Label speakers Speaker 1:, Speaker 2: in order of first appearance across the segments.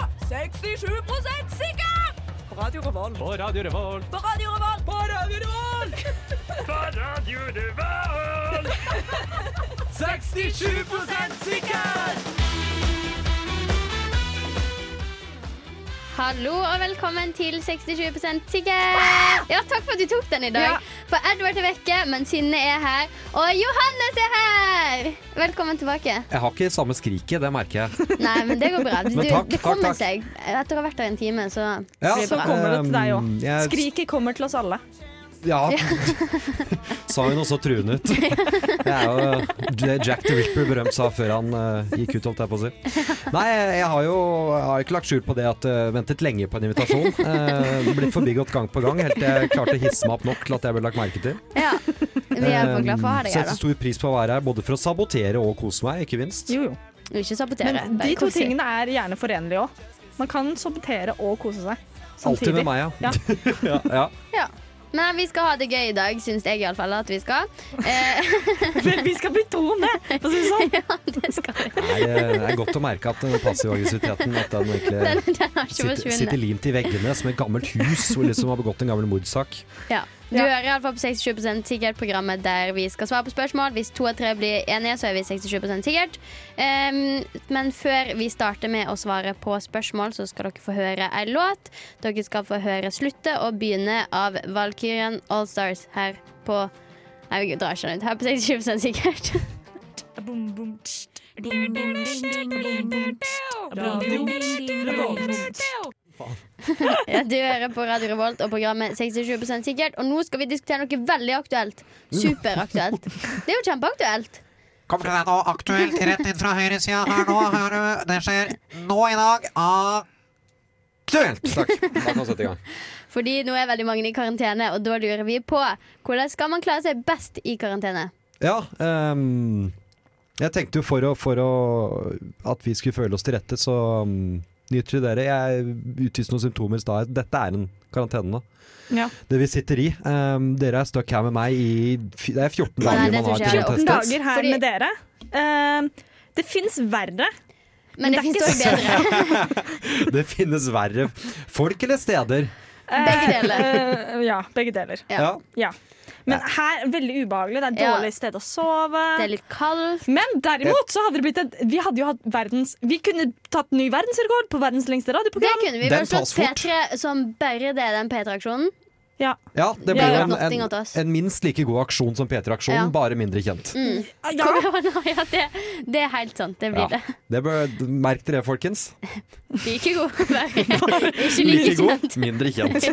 Speaker 1: 67 sikker! På Radio Revolt.
Speaker 2: På Radio Revolt.
Speaker 1: På Radio Revolt.
Speaker 2: På Radio Revolt! På Radio Revolt! 67 sikker!
Speaker 3: Hallo og velkommen til 67 sikker. Ja, takk for at du tok den i dag.
Speaker 1: Ja.
Speaker 3: For Edward er vekke, men Synne er her. Og Johannes er her! Velkommen tilbake.
Speaker 4: Jeg har ikke samme skriket, det merker jeg.
Speaker 3: Nei, men det går bra. Du,
Speaker 4: Men takk,
Speaker 3: det
Speaker 4: takk,
Speaker 3: kommer
Speaker 4: takk.
Speaker 3: seg. Etter å ha vært her en time, så
Speaker 4: Ja,
Speaker 3: blir det
Speaker 1: Så
Speaker 3: bra.
Speaker 1: kommer det til deg òg.
Speaker 4: Um, jeg-
Speaker 1: Skriket kommer til oss alle.
Speaker 4: Ja. sa hun også truende ut. Det er jo det Jack the Ripper berømt sa før han eh, gikk ut, holdt jeg på å si. Nei, jeg har jo jeg har ikke lagt skjul på det at jeg ventet lenge på en invitasjon. Uh, blitt forbigått gang på gang, helt til jeg klarte å hisse meg opp nok til at jeg ble lagt merke til.
Speaker 3: Ja. Vi er jo glad for å ha
Speaker 4: Eh,
Speaker 3: deg her,
Speaker 4: Setter
Speaker 3: da.
Speaker 4: stor pris på å være her, både for å sabotere og kose meg, ikke minst.
Speaker 1: Jo, jo.
Speaker 3: Ikke sabotere.
Speaker 1: Men de
Speaker 3: bare
Speaker 1: to
Speaker 3: kose.
Speaker 1: tingene er gjerne forenlige òg. Man kan sabotere og kose seg
Speaker 4: Alltid
Speaker 1: samtidig.
Speaker 4: med meg, ja. ja. ja.
Speaker 3: Ja. Men vi skal ha det gøy i dag, syns jeg iallfall at vi skal. Eh,
Speaker 1: Men vi skal betone det, for å si det sånn.
Speaker 3: det skal vi.
Speaker 4: Nei, eh, det er godt å merke at den passive aggressiviteten at den egentlig
Speaker 3: Den har ikke
Speaker 4: sitter, sitter
Speaker 3: forsvunnet.
Speaker 4: limt i veggene som et gammelt hus hvor liksom har begått en gammel mordsak.
Speaker 3: Ja. Du
Speaker 1: Ja.
Speaker 3: hører iallfall på 67 sikkert programmet der vi skal svare på spørsmål. Hvis to av tre blir enige, så er vi 67 sikkert. Em, men før vi starter med å svare på spørsmål, så skal dere få høre ei låt. Dere skal få høre sluttet og begynne av Valkyrien Allstars her på Nei, vi drar ikke den ut. Her på 67 sikkert. Ja, du hører på Radio Revolt og programmet 67 sikkert. Og nå skal vi diskutere noe veldig aktuelt. Superaktuelt. Det er jo kjempeaktuelt.
Speaker 5: Kommer til å være noe aktuelt rett inn fra høyresida her nå. Her, ø. det skjer nå i dag. Ah.
Speaker 4: Aktuelt! Takk. Da kan vi sette i gang.
Speaker 3: Fordi nå er veldig mange i karantene, og da lurer vi på hvordan skal man klare seg best i karantene?
Speaker 4: Ja, ehm, jeg tenkte jo for å, for å at vi skulle føle oss til rette, så um, nyter vi dere. Jeg utlyste noen symptomer i stad. Dette er en karantene nå.
Speaker 1: Ja.
Speaker 4: Det vi sitter i. ehm, dere er stuck her med meg i f- Det er 14
Speaker 3: Nei,
Speaker 4: dager
Speaker 3: det
Speaker 4: man har
Speaker 3: tror
Speaker 4: til
Speaker 3: jeg
Speaker 4: å
Speaker 3: er
Speaker 1: 14
Speaker 4: teste.
Speaker 1: dager her
Speaker 3: Fordi-
Speaker 1: med dere. Eh, det fins verre.
Speaker 3: Men det,
Speaker 1: Men
Speaker 3: finnes
Speaker 1: det er
Speaker 3: også bedre.
Speaker 4: Det finnes verre folk eller steder.
Speaker 1: Eh,
Speaker 3: Begge deler.
Speaker 1: eh, ja, begge deler.
Speaker 3: Ja.
Speaker 4: Ja.
Speaker 1: Ja. Men her veldig ubehagelig. Det er
Speaker 3: Ja.
Speaker 1: dårlig sted å sove.
Speaker 3: Det er litt kaldt.
Speaker 1: Men derimot så hadde det blitt et Vi hadde jo hatt verdens Vi kunne tatt ny verdensrekord på verdens lengste
Speaker 3: Det
Speaker 1: radioprogram.
Speaker 3: kunne vi
Speaker 4: Den
Speaker 3: vel slått
Speaker 4: tas fort.
Speaker 3: P3 som bare det, den P3-aksjonen.
Speaker 1: Ja.
Speaker 4: Ja, det
Speaker 3: Ja,
Speaker 4: blir
Speaker 3: ja.
Speaker 4: en,
Speaker 3: Notting
Speaker 4: en,
Speaker 3: åt oss.
Speaker 4: en minst like god aksjon som P3-aksjonen,
Speaker 3: Ja.
Speaker 4: bare mindre kjent.
Speaker 1: ja.
Speaker 3: ja, det, det er helt sant. Det blir
Speaker 4: Ja.
Speaker 3: det.
Speaker 4: Det bør, merk dere, folkens.
Speaker 3: Like god bare. Ikke like kjent.
Speaker 4: mindre kjent.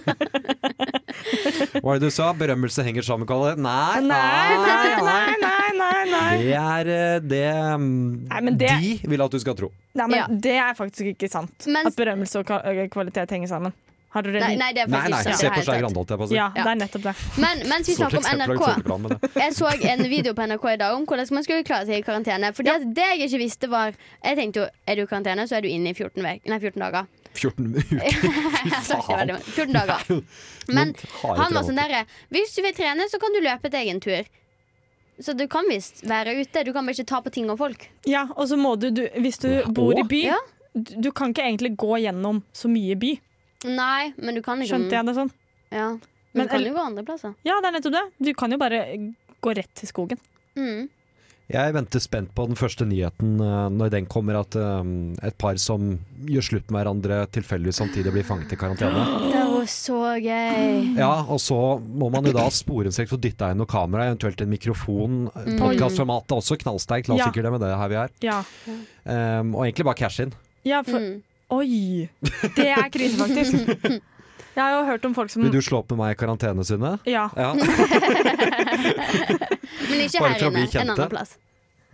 Speaker 4: Hva er det du sa? Berømmelse henger sammen med kvalitet? Nei,
Speaker 1: Nei, nei,
Speaker 4: nei, nei.
Speaker 1: nei, nei, nei, nei.
Speaker 4: Det er eh, det, mm,
Speaker 1: Nei, men det-
Speaker 4: de vil at du skal tro.
Speaker 1: nei men
Speaker 3: Ja.
Speaker 1: Det er faktisk ikke sant.
Speaker 3: Men-
Speaker 1: At berømmelse og ka- kvalitet henger sammen. Har dere
Speaker 3: Nei, nei, det er
Speaker 4: Nei,
Speaker 3: faktisk
Speaker 4: nei,
Speaker 3: ikke
Speaker 4: se
Speaker 3: det
Speaker 4: på
Speaker 3: hele
Speaker 4: Skei
Speaker 3: tatt.
Speaker 4: Grande, holdt jeg på å si.
Speaker 1: Ja,
Speaker 3: Ja.
Speaker 1: det er nettopp det.
Speaker 3: Men mens vi
Speaker 4: Stort
Speaker 3: snakker om
Speaker 4: eksempel av
Speaker 3: NRK
Speaker 4: eksempelplan, men det-
Speaker 3: Jeg så en video på NRK i dag om hvordan man skulle klare seg i karantene. Fordi at det jeg ikke visste var Jeg tenkte jo, er du i karantene, så er du inne i 14, vek, nei, 14 dager.
Speaker 4: 14 uker.
Speaker 3: Jeg sa ikke
Speaker 4: faen.
Speaker 3: veldig mye. 14 dager. Men han var sånn derre Hvis du vil trene, så kan du løpe deg en tur. Så du kan visst være ute. Du kan bare ikke ta på ting og folk.
Speaker 1: Ja, og så må du, du Hvis du bor i by,
Speaker 3: Ja.
Speaker 1: du, du kan ikke egentlig gå gjennom så mye by.
Speaker 3: Nei, men du kan ikke
Speaker 1: Skjønte jeg det sånn?
Speaker 3: Ja. Men,
Speaker 1: Men
Speaker 3: du kan jo gå andre plasser.
Speaker 1: Ja, det er nettopp det. Du kan jo bare gå rett til skogen.
Speaker 3: Mm.
Speaker 4: Jeg venter spent på den første nyheten eh, når den kommer, at eh, et par som gjør slutt med hverandre tilfeldigvis samtidig blir fanget i karantene.
Speaker 3: Det var så gøy.
Speaker 4: Ja, og så må man jo da spore seg og dytte inn noe kamera, eventuelt en mikrofon. Mm. Podkastformatet er også knallsterkt, la oss
Speaker 1: Ja.
Speaker 4: ikke glemme det her vi er.
Speaker 1: Ja.
Speaker 4: Um, og egentlig bare cash in.
Speaker 1: ja for,
Speaker 3: Mm.
Speaker 1: Oi! Det er krise, faktisk. Jeg har jo hørt om folk som
Speaker 4: Vil du slå opp med meg i karantene, Synne?
Speaker 1: Ja.
Speaker 4: Ja.
Speaker 3: Men ikke
Speaker 4: Bare
Speaker 3: her
Speaker 4: for å bli
Speaker 3: inne.
Speaker 4: kjent,
Speaker 3: En
Speaker 4: da.
Speaker 3: annen plass.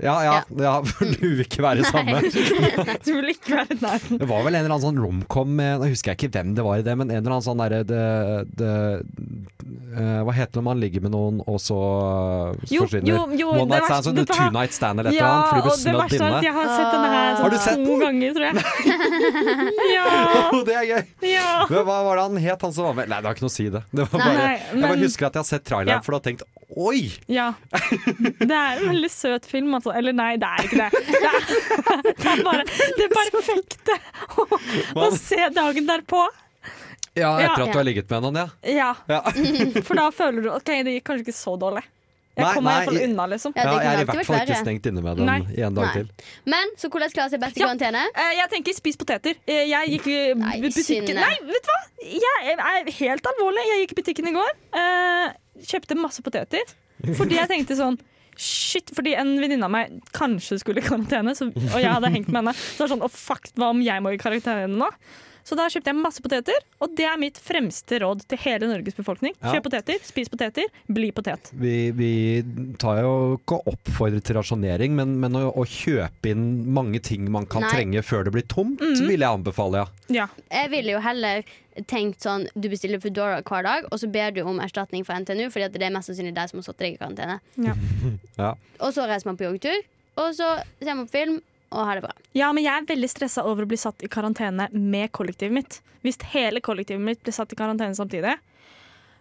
Speaker 4: Ja, ja, ja, for du vil ikke være samme.
Speaker 1: Du vil ikke være i nærheten.
Speaker 4: Det var vel en eller annen sånn romcom med Nå husker jeg ikke hvem det var i det, men en eller annen sånn derre det- det- eh, Hva heter det når man ligger med noen, og så eh,
Speaker 1: Jo,
Speaker 4: forsvinner?
Speaker 1: jo, jo,
Speaker 4: One
Speaker 1: det
Speaker 4: night stand,
Speaker 1: verste-
Speaker 4: sånn
Speaker 1: dette
Speaker 4: two
Speaker 1: har-
Speaker 4: night stand eller et
Speaker 1: Ja,
Speaker 4: eller annet, for
Speaker 1: og
Speaker 4: du blir
Speaker 1: det
Speaker 4: snødd
Speaker 1: verste er at
Speaker 4: inne.
Speaker 1: jeg har sett denne her
Speaker 4: Har
Speaker 1: sånn
Speaker 4: du sett
Speaker 1: to ganger, tror jeg. Ja.
Speaker 4: det er gøy!
Speaker 1: ja.
Speaker 4: Men Hva var det han het, han som var med? Nei, det har ikke noe å si, det. det var
Speaker 3: Nei,
Speaker 4: bare,
Speaker 1: nei,
Speaker 4: Jeg bare
Speaker 1: men-
Speaker 4: husker at jeg har sett traileren,
Speaker 1: Ja.
Speaker 4: for da har jeg tenkt Oi!
Speaker 1: Ja. Det er en veldig søt film, altså. Eller nei, det er ikke det. Det er, det er bare det perfekte å, å se dagen derpå.
Speaker 4: Ja,
Speaker 1: Ja.
Speaker 4: etter at du har
Speaker 3: Ja.
Speaker 4: ligget med noen, ja.
Speaker 1: Ja,
Speaker 4: Ja,
Speaker 1: for da føler du OK, det gikk kanskje ikke så dårlig.
Speaker 4: Nei,
Speaker 1: Jeg kom meg
Speaker 4: nei,
Speaker 1: iallfall unna, liksom.
Speaker 3: Ja,
Speaker 4: ja jeg er
Speaker 3: det kunne
Speaker 4: i
Speaker 3: alltid
Speaker 4: hvert
Speaker 3: vært
Speaker 4: fall ikke
Speaker 3: verre.
Speaker 4: stengt inne med den
Speaker 1: Nei.
Speaker 4: i en dag
Speaker 3: Nei.
Speaker 4: til.
Speaker 3: Men så hvordan klarer seg best i
Speaker 1: Ja.
Speaker 3: karantene?
Speaker 1: Eh, Jeg tenker spis poteter. Eh, Jeg gikk i
Speaker 3: Nei,
Speaker 1: bu- butikken
Speaker 3: Synne.
Speaker 1: Nei, vet du hva? Jeg er helt alvorlig. Jeg gikk i butikken i går, eh, kjøpte masse poteter. Fordi jeg tenkte sånn Shit, fordi en venninne av meg kanskje skulle i karantene, så, og jeg hadde hengt med henne. Så det var sånn, å fuck, hva om jeg må i karantene nå? Så da kjøpte jeg masse poteter, og det er mitt fremste råd til hele Norges befolkning.
Speaker 4: Ja.
Speaker 1: Kjøp poteter, spis poteter, bli potet.
Speaker 4: Vi, vi tar jo ikke å oppfordre til rasjonering, men, men å, å kjøpe inn mange ting man kan
Speaker 3: Nei.
Speaker 4: trenge før det blir tomt,
Speaker 1: Mhm.
Speaker 4: vil jeg anbefale, ja.
Speaker 1: Ja.
Speaker 3: Jeg ville jo heller tenkt sånn Du bestiller Foodora hver dag, og så ber du om erstatning fra NTNU, fordi at det er mest sannsynlig deg som har satt deg i karantene.
Speaker 1: Ja.
Speaker 4: Ja.
Speaker 3: Og så reiser man på joggetur, og så ser man på film og har det bra.
Speaker 1: Ja, men jeg er veldig stressa over å bli satt i karantene med kollektivet mitt. Hvis hele kollektivet mitt blir satt i karantene samtidig,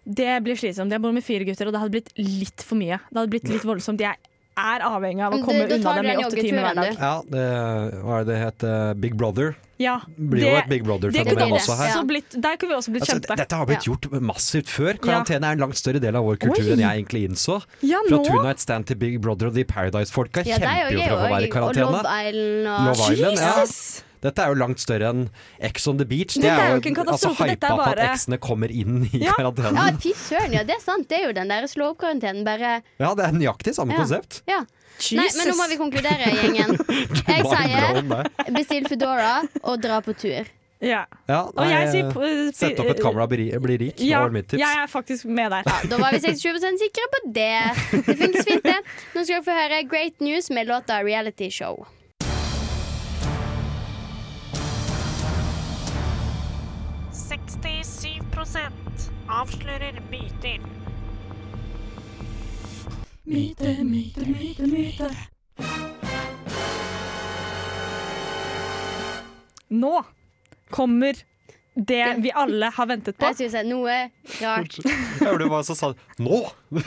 Speaker 1: det blir slitsomt. Jeg bor med fire gutter, og det hadde blitt litt for mye. Det hadde blitt litt voldsomt. Jeg er avhengig av å
Speaker 3: Men du-
Speaker 1: komme
Speaker 3: da
Speaker 1: unna
Speaker 3: tar du
Speaker 1: dem i
Speaker 3: den
Speaker 1: åtte timer hver
Speaker 3: joggeturen,
Speaker 1: dag.
Speaker 3: du.
Speaker 4: Ja, det, hva er det det heter? Big Brother.
Speaker 1: Ja,
Speaker 4: Blir jo et Big
Speaker 3: blir
Speaker 1: det
Speaker 4: Brother-fenomen
Speaker 1: kunne
Speaker 3: det.
Speaker 4: også her.
Speaker 1: også blitt, der kunne vi også blitt
Speaker 4: Altså,
Speaker 1: kjempe.
Speaker 4: dette har blitt gjort massivt før. Karantene er en langt større del av vår kultur
Speaker 1: Oi.
Speaker 4: enn jeg egentlig innså.
Speaker 1: Ja,
Speaker 4: Fra
Speaker 1: nå?
Speaker 4: Two Night Stand til Big Brother og de Paradise-folka
Speaker 3: Ja, deg
Speaker 4: kjemper
Speaker 3: og
Speaker 4: jo
Speaker 3: jeg
Speaker 4: for å få være i
Speaker 3: òg. Og
Speaker 4: karantene.
Speaker 3: Love Island og
Speaker 4: Love Island, ja.
Speaker 1: Jesus!
Speaker 4: Dette er jo langt større enn Ex on the Beach.
Speaker 1: Dette er jo ikke en
Speaker 4: altså,
Speaker 1: katastrofe, dette er
Speaker 4: hypa på at
Speaker 1: bare-
Speaker 4: eksene kommer inn i
Speaker 1: Ja.
Speaker 3: Ja,
Speaker 4: karantenen.
Speaker 3: fy søren, ja, det er sant. Det er jo den der slå opp-karantenen, bare
Speaker 4: Ja, det er nøyaktig samme
Speaker 3: Ja.
Speaker 4: konsept.
Speaker 3: Ja. Nei, men nå må vi konkludere, gjengen. Jeg sier
Speaker 4: Mind blown, det.
Speaker 3: bestill Foodora og dra på tur.
Speaker 1: Ja.
Speaker 4: Ja,
Speaker 1: Og
Speaker 4: nei, eh,
Speaker 1: jeg sier på- eh,
Speaker 4: Sett opp et kamera, bli bli rik. Det
Speaker 1: Ja,
Speaker 4: var mitt tips.
Speaker 1: jeg er faktisk med der.
Speaker 3: Da var vi 67 sikre på det. Det funkes fint, det. Nå skal dere få høre Great News med låta Reality Show.
Speaker 6: avslører myter.
Speaker 1: Nå kommer det vi alle har ventet på.
Speaker 3: Jeg skulle si noe rart.
Speaker 4: Jeg hørte hva som sa Nå!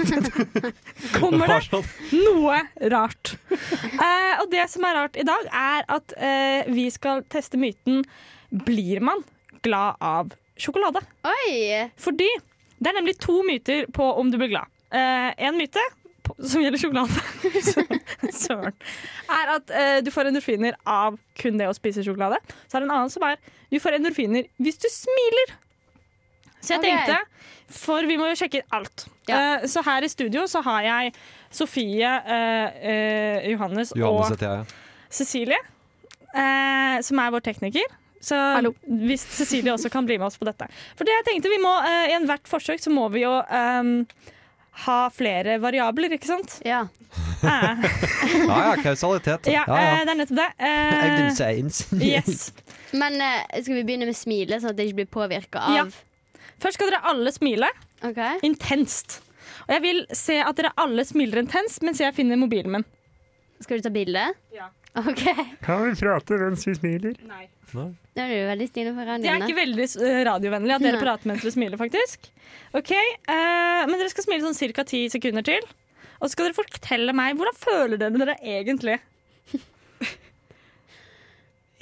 Speaker 1: Kommer det
Speaker 4: var sånn.
Speaker 1: Noe rart. Eh, og det som er rart i dag, er at eh, vi skal teste myten Blir man glad av sjokolade?
Speaker 3: Oi!
Speaker 1: Fordi det er nemlig to myter på om du blir glad. Én myte på, som gjelder sjokolade, Sø- søren, er at eh, du får endorfiner av kun det å spise sjokolade. Så er det en annen som er du får endorfiner hvis du smiler. Så jeg
Speaker 3: Ok.
Speaker 1: tenkte, for vi må jo sjekke alt.
Speaker 3: Ja.
Speaker 1: Eh, så her i studio så har jeg Sofie, eh, eh, Johannes,
Speaker 4: Johannes
Speaker 1: og
Speaker 4: heter jeg.
Speaker 1: Cecilie, eh, som er vår tekniker. Så hvis Cecilie også kan bli med oss på dette. For det jeg tenkte, vi må, eh, I enhert forsøk så må vi jo eh, ha flere variabler, ikke sant?
Speaker 3: Ja.
Speaker 1: Eh,
Speaker 4: Ja ja, kausalitet.
Speaker 1: ja, eh, det er nettopp det. Eh,
Speaker 4: Science.
Speaker 1: yes.
Speaker 3: Men eh, skal vi begynne med smilet, sånn at det ikke blir påvirka av
Speaker 1: Ja. Først skal dere alle smile
Speaker 3: OK?
Speaker 1: intenst. Og jeg vil se at dere alle smiler intenst mens jeg finner mobilen min.
Speaker 3: Skal du ta bilde?
Speaker 1: Ja.
Speaker 3: OK. Nå er du veldig snill overfor
Speaker 1: Det er
Speaker 3: radioen.
Speaker 1: ikke veldig eh, radiovennlig at dere
Speaker 3: Nei.
Speaker 1: prater mens dere smiler, faktisk. Ok, eh, Men dere skal smile sånn ca. ti sekunder til. Og så skal dere fortelle meg hvordan føler dere dere egentlig.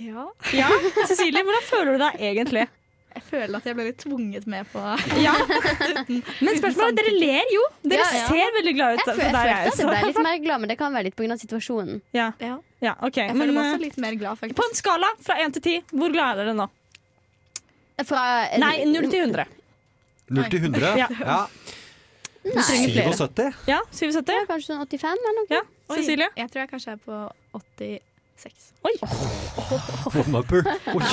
Speaker 7: Ja,
Speaker 1: Ja, Cecilie, hvordan føler du deg egentlig?
Speaker 7: jeg føler at jeg ble litt tvunget med på
Speaker 1: Ja. Men spørsmålet er, dere ler jo. Dere
Speaker 3: Ja, ja.
Speaker 1: ser veldig glade ut.
Speaker 3: Jeg,
Speaker 1: så
Speaker 3: føl jeg følte
Speaker 1: Altså, der er jeg,
Speaker 3: at jeg ble
Speaker 1: så.
Speaker 3: litt mer glad, men det kan være litt pga. situasjonen.
Speaker 1: Ja,
Speaker 7: Ja.
Speaker 1: ja, ok.
Speaker 7: Jeg føler
Speaker 1: Men
Speaker 7: meg også
Speaker 1: eh,
Speaker 7: litt mer glad, faktisk.
Speaker 1: på en skala fra 1 til 10, hvor glad er dere nå?
Speaker 3: Fra
Speaker 1: Nei, 0 til 100.
Speaker 4: 0 til 100?
Speaker 1: Ja.
Speaker 4: Ja.
Speaker 3: Nei.
Speaker 1: trenger flere.
Speaker 4: 77?
Speaker 1: Ja,
Speaker 3: Det
Speaker 1: 77?
Speaker 3: var kanskje sånn 85 eller noe.
Speaker 1: Ja,
Speaker 7: Oi,
Speaker 1: Cecilie?
Speaker 7: Jeg tror jeg kanskje er på 86.
Speaker 4: One upper. Oi.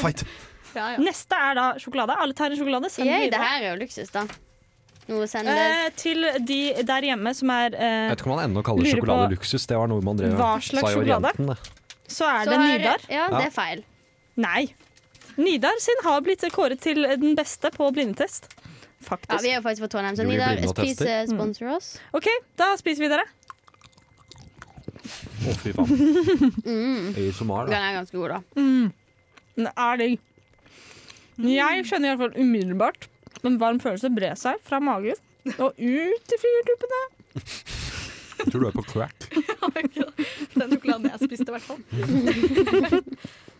Speaker 4: Fight.
Speaker 7: Ja, ja.
Speaker 1: Neste er da sjokolade. Alle tar en sjokolade. Send
Speaker 3: Yay, det
Speaker 1: den videre.
Speaker 3: her er jo luksus, da. Noe å sende
Speaker 1: Eh, til de der hjemme som er eh,
Speaker 4: Jeg vet ikke om man ennå kaller
Speaker 1: Lurer
Speaker 4: sjokolade
Speaker 1: på-
Speaker 4: luksus. Det var noe man drev
Speaker 1: Hva slags
Speaker 4: sa i
Speaker 1: sjokolade?
Speaker 4: Orienten, det.
Speaker 1: Så er
Speaker 3: Så
Speaker 1: det
Speaker 3: har-
Speaker 1: Nidar.
Speaker 3: Ja,
Speaker 4: Ja.
Speaker 3: det er feil.
Speaker 1: Nei. Nidar sin har blitt kåret til den beste på blindetest.
Speaker 3: Ja,
Speaker 1: Faktisk.
Speaker 3: vi er jo faktisk fra Trondheim, så
Speaker 4: Jo, vi
Speaker 3: Nidar
Speaker 4: blir nå
Speaker 3: spis
Speaker 4: tester.
Speaker 3: eh,
Speaker 1: Mm.
Speaker 3: sponsor oss.
Speaker 1: OK, da spiser vi dere.
Speaker 4: Å, fy faen.
Speaker 3: Mm.
Speaker 4: ASMR,
Speaker 3: Den
Speaker 4: da.
Speaker 3: er ganske god, da.
Speaker 1: Den er digg.
Speaker 3: Mm.
Speaker 1: Jeg kjenner i hvert fall umiddelbart en varm følelse bre seg fra magen Og ut i fyrtuppene.
Speaker 4: Jeg tror du er på crack.
Speaker 7: Den sjokoladen jeg spiste, i hvert fall.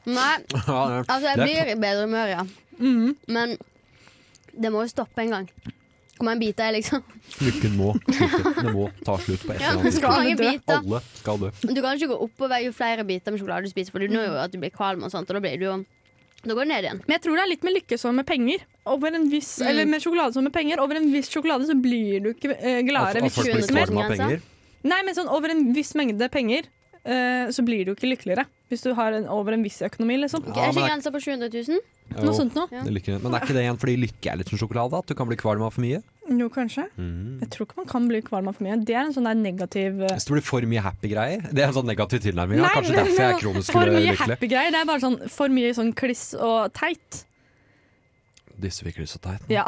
Speaker 3: Nei,
Speaker 4: Ja, det er-
Speaker 3: altså jeg
Speaker 4: Det er
Speaker 3: blir i bedre humør, ja. Men det må jo stoppe en gang. Hvor mange biter er liksom
Speaker 4: lykken må slutte. Det må ta slutt på et
Speaker 3: ja,
Speaker 4: eller
Speaker 3: Hvor
Speaker 4: annet.
Speaker 3: mange
Speaker 1: dø.
Speaker 3: biter
Speaker 4: Alle skal dø.
Speaker 3: Du kan ikke gå oppover jo flere biter med sjokolade du spiser, for du når
Speaker 1: Mm.
Speaker 3: jo at du blir kvalm, og sånt, og da blir du jo Da går det ned igjen.
Speaker 1: Men jeg tror det er litt med lykke som med penger. Over en viss,
Speaker 3: Mm.
Speaker 1: Eller med sjokolade som med penger. Over en viss sjokolade så blir du ikke eh,
Speaker 4: At,
Speaker 1: gladere.
Speaker 4: at
Speaker 1: Hvis altså.
Speaker 4: folk
Speaker 1: du
Speaker 4: blir
Speaker 1: spiser mer.
Speaker 4: kvalme av penger.
Speaker 1: Nei, men sånn over en viss mengde penger eh, så blir du ikke lykkeligere. Hvis du har en, over en viss økonomi, liksom.
Speaker 4: Ja,
Speaker 3: er
Speaker 4: men
Speaker 3: ikke
Speaker 4: det-
Speaker 3: grensa på 700 000?
Speaker 1: Noe sånt noe.
Speaker 4: Det er lykke. Men er ikke det igjen fordi lykke er litt som sjokolade? At du kan bli kvalm av for mye?
Speaker 1: Jo, kanskje. Jeg tror ikke man kan bli kvalm av for mye. Det er en sånn der negativ eh,
Speaker 4: Hvis det blir for mye happy-greier? Det er en sånn negativ tilnærming. ja.
Speaker 1: Nei,
Speaker 4: Kanskje
Speaker 1: men-
Speaker 4: derfor jeg er
Speaker 1: men-
Speaker 4: kronisk
Speaker 1: For mye
Speaker 4: lykkelig.
Speaker 1: happy-greier. Det er bare sånn for mye sånn kliss og teit.
Speaker 4: Disse virker så teit.
Speaker 1: Ja.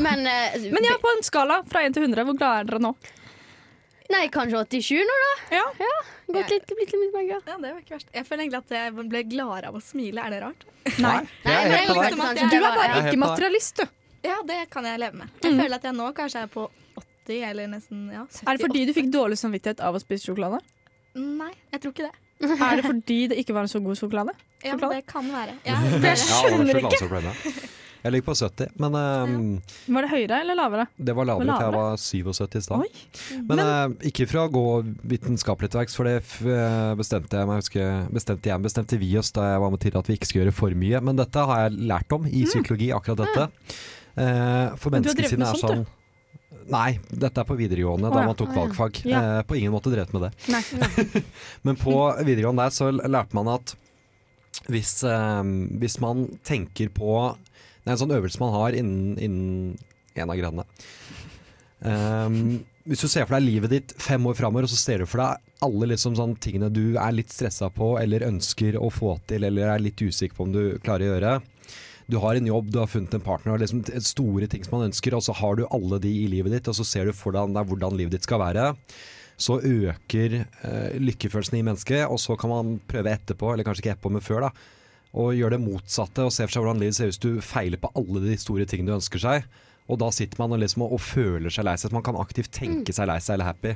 Speaker 3: Men, eh,
Speaker 1: Men ja, på en skala fra 1 til 100, hvor glad er dere nå?
Speaker 3: Nei, kanskje 87 nå, da?
Speaker 1: Ja.
Speaker 3: Gått litt, blitt litt mer glad.
Speaker 7: Ja, det var ikke verst. Jeg føler egentlig at jeg ble gladere av å smile. Er det rart?
Speaker 1: Nei.
Speaker 4: jeg
Speaker 3: Nei,
Speaker 4: er
Speaker 3: men
Speaker 4: helt på
Speaker 7: liksom
Speaker 4: deg.
Speaker 7: at
Speaker 3: kanskje
Speaker 1: Du
Speaker 7: jeg-
Speaker 3: det
Speaker 1: er
Speaker 3: var-
Speaker 1: bare
Speaker 4: Jeg er helt
Speaker 1: ikke
Speaker 4: på deg.
Speaker 1: materialist, du.
Speaker 7: Ja, det kan jeg leve med. Jeg føler at jeg nå kanskje er på 80 eller nesten ja, 70.
Speaker 1: Mm. Er det fordi du fikk dårlig samvittighet av å spise sjokolade?
Speaker 7: Nei, jeg tror ikke det.
Speaker 1: Er det fordi det ikke var en så god sjokolade?
Speaker 7: Ja,
Speaker 1: Sjokolade?
Speaker 7: det kan være.
Speaker 1: For
Speaker 7: Ja,
Speaker 1: jeg
Speaker 4: Ja, det var
Speaker 1: skjønner ikke!
Speaker 4: sjokoladeproblemet. Jeg ligger på 70, men ehm,
Speaker 1: Var det høyere eller lavere?
Speaker 4: det var lavere,
Speaker 1: Lavere?
Speaker 4: for jeg var 77 i
Speaker 1: Oi.
Speaker 4: stad. Men, eh, ikke for å gå vitenskapelig til verks, for det f eh, bestemte jeg meg husker, bestemte, jeg, bestemte vi oss da jeg var med Tirre at vi ikke skulle gjøre for mye. Men dette har jeg lært om i psykologi, akkurat dette. Eh, for
Speaker 1: Mm. Men du har drevet
Speaker 4: menneskesinnet
Speaker 1: med
Speaker 4: er sånn
Speaker 1: sånt,
Speaker 4: Nei, dette er på videregående,
Speaker 1: Å
Speaker 4: da
Speaker 1: ja,
Speaker 4: man tok
Speaker 3: å ja.
Speaker 4: valgfag.
Speaker 1: Ja.
Speaker 4: Eh, på ingen måte drevet med det.
Speaker 1: Nei.
Speaker 4: Men på videregående der så l- lærte man at hvis, eh, hvis man tenker på Det er en sånn øvelse man har innen, innen en av gradene. Ehm, hvis du ser for deg livet ditt fem år framover, og så ser du for deg alle liksom sånn tingene du er litt stressa på, eller ønsker å få til, eller er litt usikker på om du klarer å gjøre. Du har en jobb, du har funnet en partner, og liksom t- store ting som man ønsker, og så har du alle de i livet ditt, og så ser du for deg hvordan- hvordan livet ditt skal være. Så øker eh, lykkefølelsen i mennesket, og så kan man prøve etterpå, eller kanskje ikke etterpå, men før, da, og gjør det motsatte og ser for seg hvordan livet ser ut hvis du feiler på alle de store tingene du ønsker seg. Og da sitter man og, liksom og, og føler seg lei seg. Så man kan aktivt tenke seg lei seg eller happy.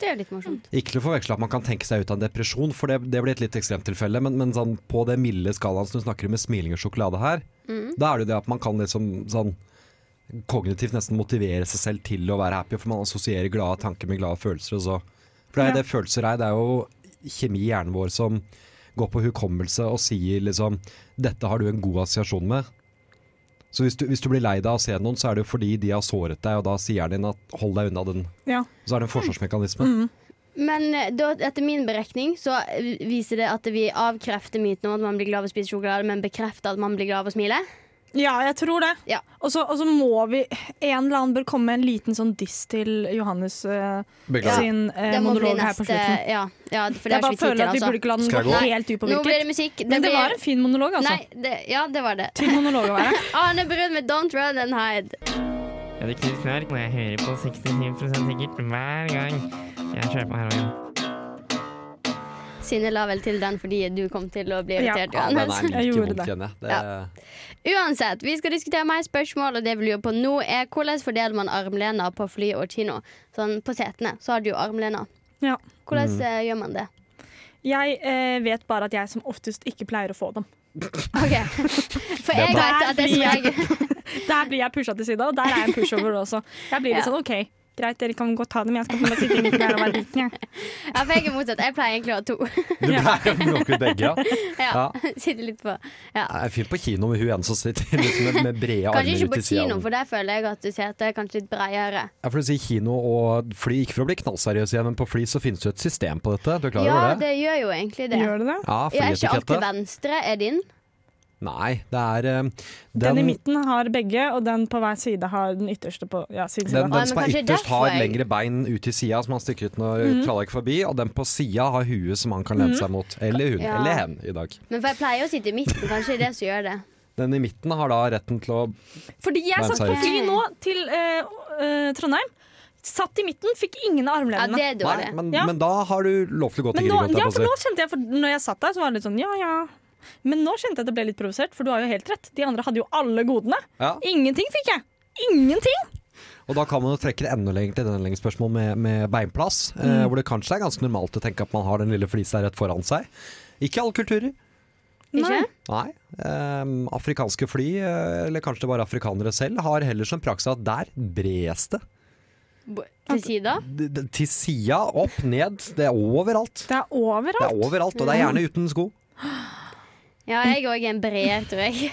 Speaker 3: Det er jo litt morsomt.
Speaker 4: Ikke til å forveksle at man kan tenke seg ut av en depresjon, for det, det blir et litt ekstremt tilfelle. Men, men sånn, på det milde skalaen som du snakker om med smiling og sjokolade her,
Speaker 1: Mm.
Speaker 4: da er det jo det at man kan liksom sånn kognitivt nesten motivere seg selv til å være happy, for man assosierer glade tanker med glade følelser og så. For det er
Speaker 1: Ja.
Speaker 4: jo det følelser er, det er jo kjemi i hjernen vår som går på hukommelse og sier liksom Dette har du en god assosiasjon med. Så hvis du, hvis du blir lei deg av å se noen, så er det jo fordi de har såret deg, og da sier hjernen din at hold deg unna den.
Speaker 1: Ja. Mm.
Speaker 4: Så er det en forsvarsmekanisme.
Speaker 3: Men eh, da, etter min berekning så eh, viser det at vi avkrefter myten om at man blir glad av å spise sjokolade, men bekrefter at man blir glad av å smile.
Speaker 1: Ja, jeg tror det.
Speaker 3: Ja.
Speaker 1: Og så og så må vi En eller annen bør komme med en liten sånn diss til Johannes eh, sin eh,
Speaker 3: Det må bli
Speaker 1: monolog her på
Speaker 3: neste-
Speaker 1: slutten.
Speaker 3: Ja, ja for det
Speaker 1: Jeg
Speaker 3: har
Speaker 1: bare
Speaker 3: ikke vi tid
Speaker 1: føler
Speaker 3: til,
Speaker 1: at vi
Speaker 3: altså.
Speaker 1: burde ikke la den
Speaker 4: Skal jeg
Speaker 1: gå
Speaker 4: gå?
Speaker 1: helt
Speaker 3: Nå blir det
Speaker 1: upåvirket.
Speaker 3: musikk.
Speaker 1: Men det
Speaker 3: blir-
Speaker 1: var en fin monolog, altså.
Speaker 3: Nei, det, ja, det var det.
Speaker 1: Til monolog å være.
Speaker 3: Arne Brun med Don't Run and Hide.
Speaker 6: Jeg blir knivknark når jeg hører på 67 sikkert hver gang jeg kjører på heroin.
Speaker 3: Synne la vel til den fordi du kom til å bli
Speaker 1: Ja.
Speaker 3: irritert.
Speaker 4: Ja, den
Speaker 3: Johannes.
Speaker 4: er
Speaker 1: Jeg
Speaker 4: like
Speaker 1: gjorde
Speaker 4: vondt,
Speaker 1: det.
Speaker 4: kjenner jeg. Det,
Speaker 3: Uansett, vi skal diskutere mer spørsmål, og det vi lurer på nå, er hvordan fordeler man armlener på fly og kino? Sånn, på setene så har du jo armlener.
Speaker 1: Ja.
Speaker 3: Hvordan
Speaker 4: Mm.
Speaker 3: eh, gjør man det?
Speaker 1: Jeg eh, vet bare at jeg som oftest ikke pleier å få dem.
Speaker 3: Ok, For jeg
Speaker 4: bra.
Speaker 3: vet at det som jeg
Speaker 1: Der blir jeg pusha til side, og der er jeg en pushover også. Jeg blir litt
Speaker 3: Ja.
Speaker 1: sånn OK, greit, dere kan godt ta dem, jeg skal holde meg til tingene der og være liten, jeg.
Speaker 3: Ja, for jeg er motsatt. Jeg pleier egentlig å ha to.
Speaker 4: Du pleier å plukke begge, ja.
Speaker 3: Ja,
Speaker 4: Ja.
Speaker 3: Sitter litt på. Ja.
Speaker 4: Det er fint på kino med hun ene som sitter liksom med, med brede armer
Speaker 3: Kanskje
Speaker 4: ut
Speaker 3: ikke på
Speaker 4: til siden.
Speaker 3: kino, for der føler jeg at setet er kanskje litt bredere.
Speaker 4: Ja, for du sier kino og fly, ikke for å bli knallseriøs igjen, men på fly så finnes det jo et system på dette. Du er klar
Speaker 3: Ja,
Speaker 4: over det?
Speaker 3: det gjør jo egentlig det.
Speaker 1: Gjør det det?
Speaker 4: Ja,
Speaker 3: Jeg er ikke alltid
Speaker 4: flyetikette.
Speaker 3: venstre. Er din?
Speaker 4: Nei, det er eh,
Speaker 1: Den,
Speaker 4: den,
Speaker 1: i midten har begge, og den på hver side har den ytterste på ja, sin side.
Speaker 4: den,
Speaker 3: Oi,
Speaker 4: den som
Speaker 3: men
Speaker 4: er
Speaker 3: kanskje
Speaker 4: ytterst,
Speaker 3: derfor
Speaker 4: har
Speaker 3: jeg-
Speaker 4: lengre bein ut til sida som han stikker ut når
Speaker 1: Mhm.
Speaker 4: klarer ikke forbi, og den på sida har huet som han kan lene seg mot. Eller hun,
Speaker 3: Ja.
Speaker 4: eller hen, i dag.
Speaker 3: Men for jeg pleier å sitte i midten. Kanskje det er det som gjør det.
Speaker 4: Den i midten har da retten til å
Speaker 1: Fordi jeg
Speaker 4: Nei,
Speaker 1: satt på
Speaker 4: seriøst.
Speaker 1: fly nå til eh, eh, Trondheim. Satt i midten, fikk ingen av
Speaker 3: Ja,
Speaker 1: armlenene.
Speaker 3: det
Speaker 4: Nei,
Speaker 3: er dårlig.
Speaker 4: men,
Speaker 1: Ja.
Speaker 4: men da har du lov til å gå
Speaker 1: men
Speaker 4: til
Speaker 1: nå,
Speaker 4: Grieg. holdt jeg
Speaker 1: ja,
Speaker 4: på å si.
Speaker 1: for nå kjente jeg, for når jeg satt der, så var det litt sånn ja, ja. Men nå kjente jeg at det ble litt provosert, for du har jo helt rett. De andre hadde jo alle godene.
Speaker 4: Ja.
Speaker 1: Ingenting fikk jeg. ingenting!
Speaker 4: Og da kan man jo trekke det enda lenger til denne lengre spørsmål med, med beinplass, eh,
Speaker 1: Mm.
Speaker 4: hvor det kanskje er ganske normalt å tenke at man har den lille flisa rett foran seg. Ikke i alle kulturer.
Speaker 3: Ikke?
Speaker 4: Nei. Ehm, afrikanske fly, eh, eller kanskje det bare afrikanere selv, har heller som praksis at der bres det.
Speaker 3: Bo- Til sida?
Speaker 4: D- d- Til sida, opp, ned. Det er overalt.
Speaker 1: Det er
Speaker 4: Det er
Speaker 1: overalt.
Speaker 4: overalt, og det er gjerne uten sko.
Speaker 3: Ja, jeg òg er en breer, tror jeg.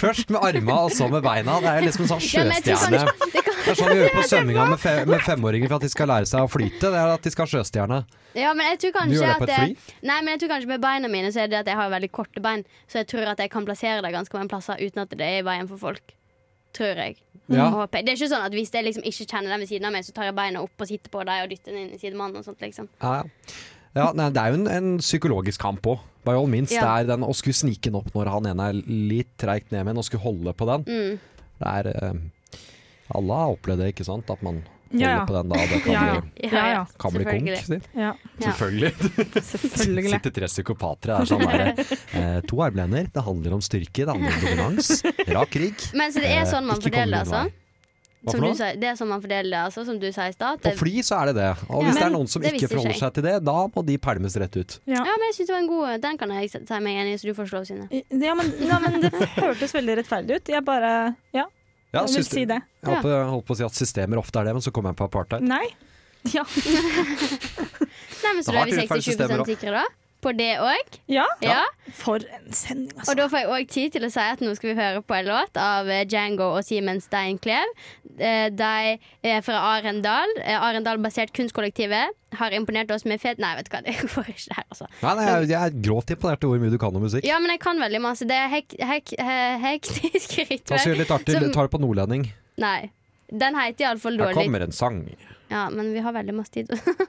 Speaker 4: Først med arma og så med beina. Det er liksom en sånn
Speaker 3: Ja, men jeg tror
Speaker 4: sjøstjerne.
Speaker 3: kanskje- det kan,
Speaker 4: Det er sånn vi gjør på svømminga med, fe med femåringer for at de skal lære seg å flyte. Det er at de skal ha sjøstjerne.
Speaker 3: ja, men jeg tror
Speaker 4: Du gjør
Speaker 3: kanskje
Speaker 4: det
Speaker 3: at
Speaker 4: på et
Speaker 3: jeg,
Speaker 4: fly.
Speaker 3: Nei, men jeg tror kanskje med beina mine så er det at jeg har veldig korte bein, så jeg tror at jeg kan plassere det ganske mange plasser uten at det er i veien for folk. Tror jeg.
Speaker 4: Ja.
Speaker 3: Håper jeg. Det er ikke sånn at Hvis jeg liksom ikke kjenner den ved siden av meg, så tar jeg beina opp og sitter på deg og dytter den inn i sidemannen og sånt. liksom
Speaker 4: Ja, ja. ja nei, det er jo en, en psykologisk kamp òg. By all means. Det
Speaker 3: Ja.
Speaker 4: er den å skulle snike den opp når han ene er litt treigt ned med den, og skulle holde på den.
Speaker 3: mm.
Speaker 4: Det er eh, Alle har opplevd det, ikke sant? At man holder
Speaker 1: Ja, ja.
Speaker 4: på den da. Det kan
Speaker 1: Ja, ja.
Speaker 4: bli,
Speaker 3: Ja,
Speaker 1: Ja, ja.
Speaker 4: kan bli konk.
Speaker 3: selvfølgelig.
Speaker 4: sier.
Speaker 1: Ja,
Speaker 3: Ja.
Speaker 4: Selvfølgelig.
Speaker 1: selvfølgelig.
Speaker 4: Sitter tre psykopater der sånn der. Eh, to armlener. Det handler om styrke, det handler om dominans. Rak rygg.
Speaker 3: Men så det
Speaker 4: Eh,
Speaker 3: er sånn man
Speaker 4: ikke komme din
Speaker 3: fordeler,
Speaker 4: vei.
Speaker 3: altså?
Speaker 4: Hva for
Speaker 3: Som du
Speaker 4: noe?
Speaker 3: sa, det er sånn man fordeler det, altså, som du sa i stad.
Speaker 4: På
Speaker 3: at-
Speaker 4: fly så er det det. Og hvis
Speaker 3: Ja.
Speaker 4: det er
Speaker 3: Men
Speaker 4: noen som
Speaker 3: det
Speaker 4: ikke
Speaker 3: visste
Speaker 4: forholder
Speaker 3: jeg.
Speaker 4: seg til det, da må de pælmes rett ut.
Speaker 3: Ja, men jeg synes det var en god Den kan jeg si meg enig i, så du får slå sine.
Speaker 1: Ja, men, nei, men det hørtes veldig rettferdig ut. Jeg bare Ja,
Speaker 4: Ja,
Speaker 1: jeg vil
Speaker 4: syste-
Speaker 1: si det.
Speaker 4: Jeg holdt på, jeg holdt på å si at systemer ofte er det, men så kom jeg på apartheid.
Speaker 3: Mm.
Speaker 1: Nei. Ja.
Speaker 3: Nei, men
Speaker 4: Det
Speaker 3: Så da
Speaker 4: har
Speaker 3: er vi
Speaker 4: vært urettferdige
Speaker 3: 60-20 sikre, da? På det òg?
Speaker 1: ja.
Speaker 3: Ja.
Speaker 1: For en sending,
Speaker 3: Og
Speaker 1: altså.
Speaker 3: da får jeg òg tid til å si at nå skal vi høre på en låt av eh, Django og Simen Steinklev. Eh, De er fra Arendal. Eh, Arendal-basert kunstkollektivet har imponert oss med fet Nei, vet du hva, det går ikke her, altså.
Speaker 4: Nei, nei, jeg, jeg er grovt imponert over hvor mye du kan om musikk.
Speaker 3: Ja, men jeg kan veldig masse. Det er hek hek he- hektisk
Speaker 4: Ta så gjør
Speaker 3: rytme.
Speaker 4: det litt artig,
Speaker 3: Som-
Speaker 4: ta det på nordlending.
Speaker 3: Nei. Den heter iallfall
Speaker 4: Her
Speaker 3: dårlig.
Speaker 4: kommer en sang.
Speaker 3: Ja, men vi har veldig masse tid.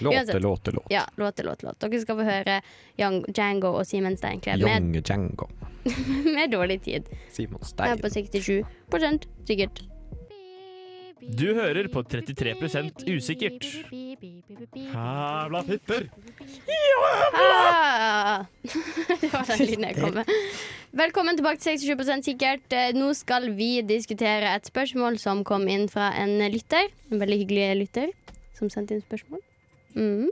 Speaker 4: Låte,
Speaker 3: Uansett.
Speaker 4: låte, låte.
Speaker 3: ja, låt, låt, låt. Dere skal få høre Young Django og Simen Steinklev med,
Speaker 4: Young Django.
Speaker 3: med dårlig tid.
Speaker 4: Simon
Speaker 3: Her
Speaker 4: Stein.
Speaker 3: på 67 sikkert.
Speaker 2: Du hører på 33 usikkert. Hævla fitter!
Speaker 3: Ah! det var den lyden jeg kom med. Velkommen tilbake til 67 sikkert. Eh, Nå skal vi diskutere et spørsmål som kom inn fra en lytter. En veldig hyggelig lytter som sendte inn spørsmål. Mm.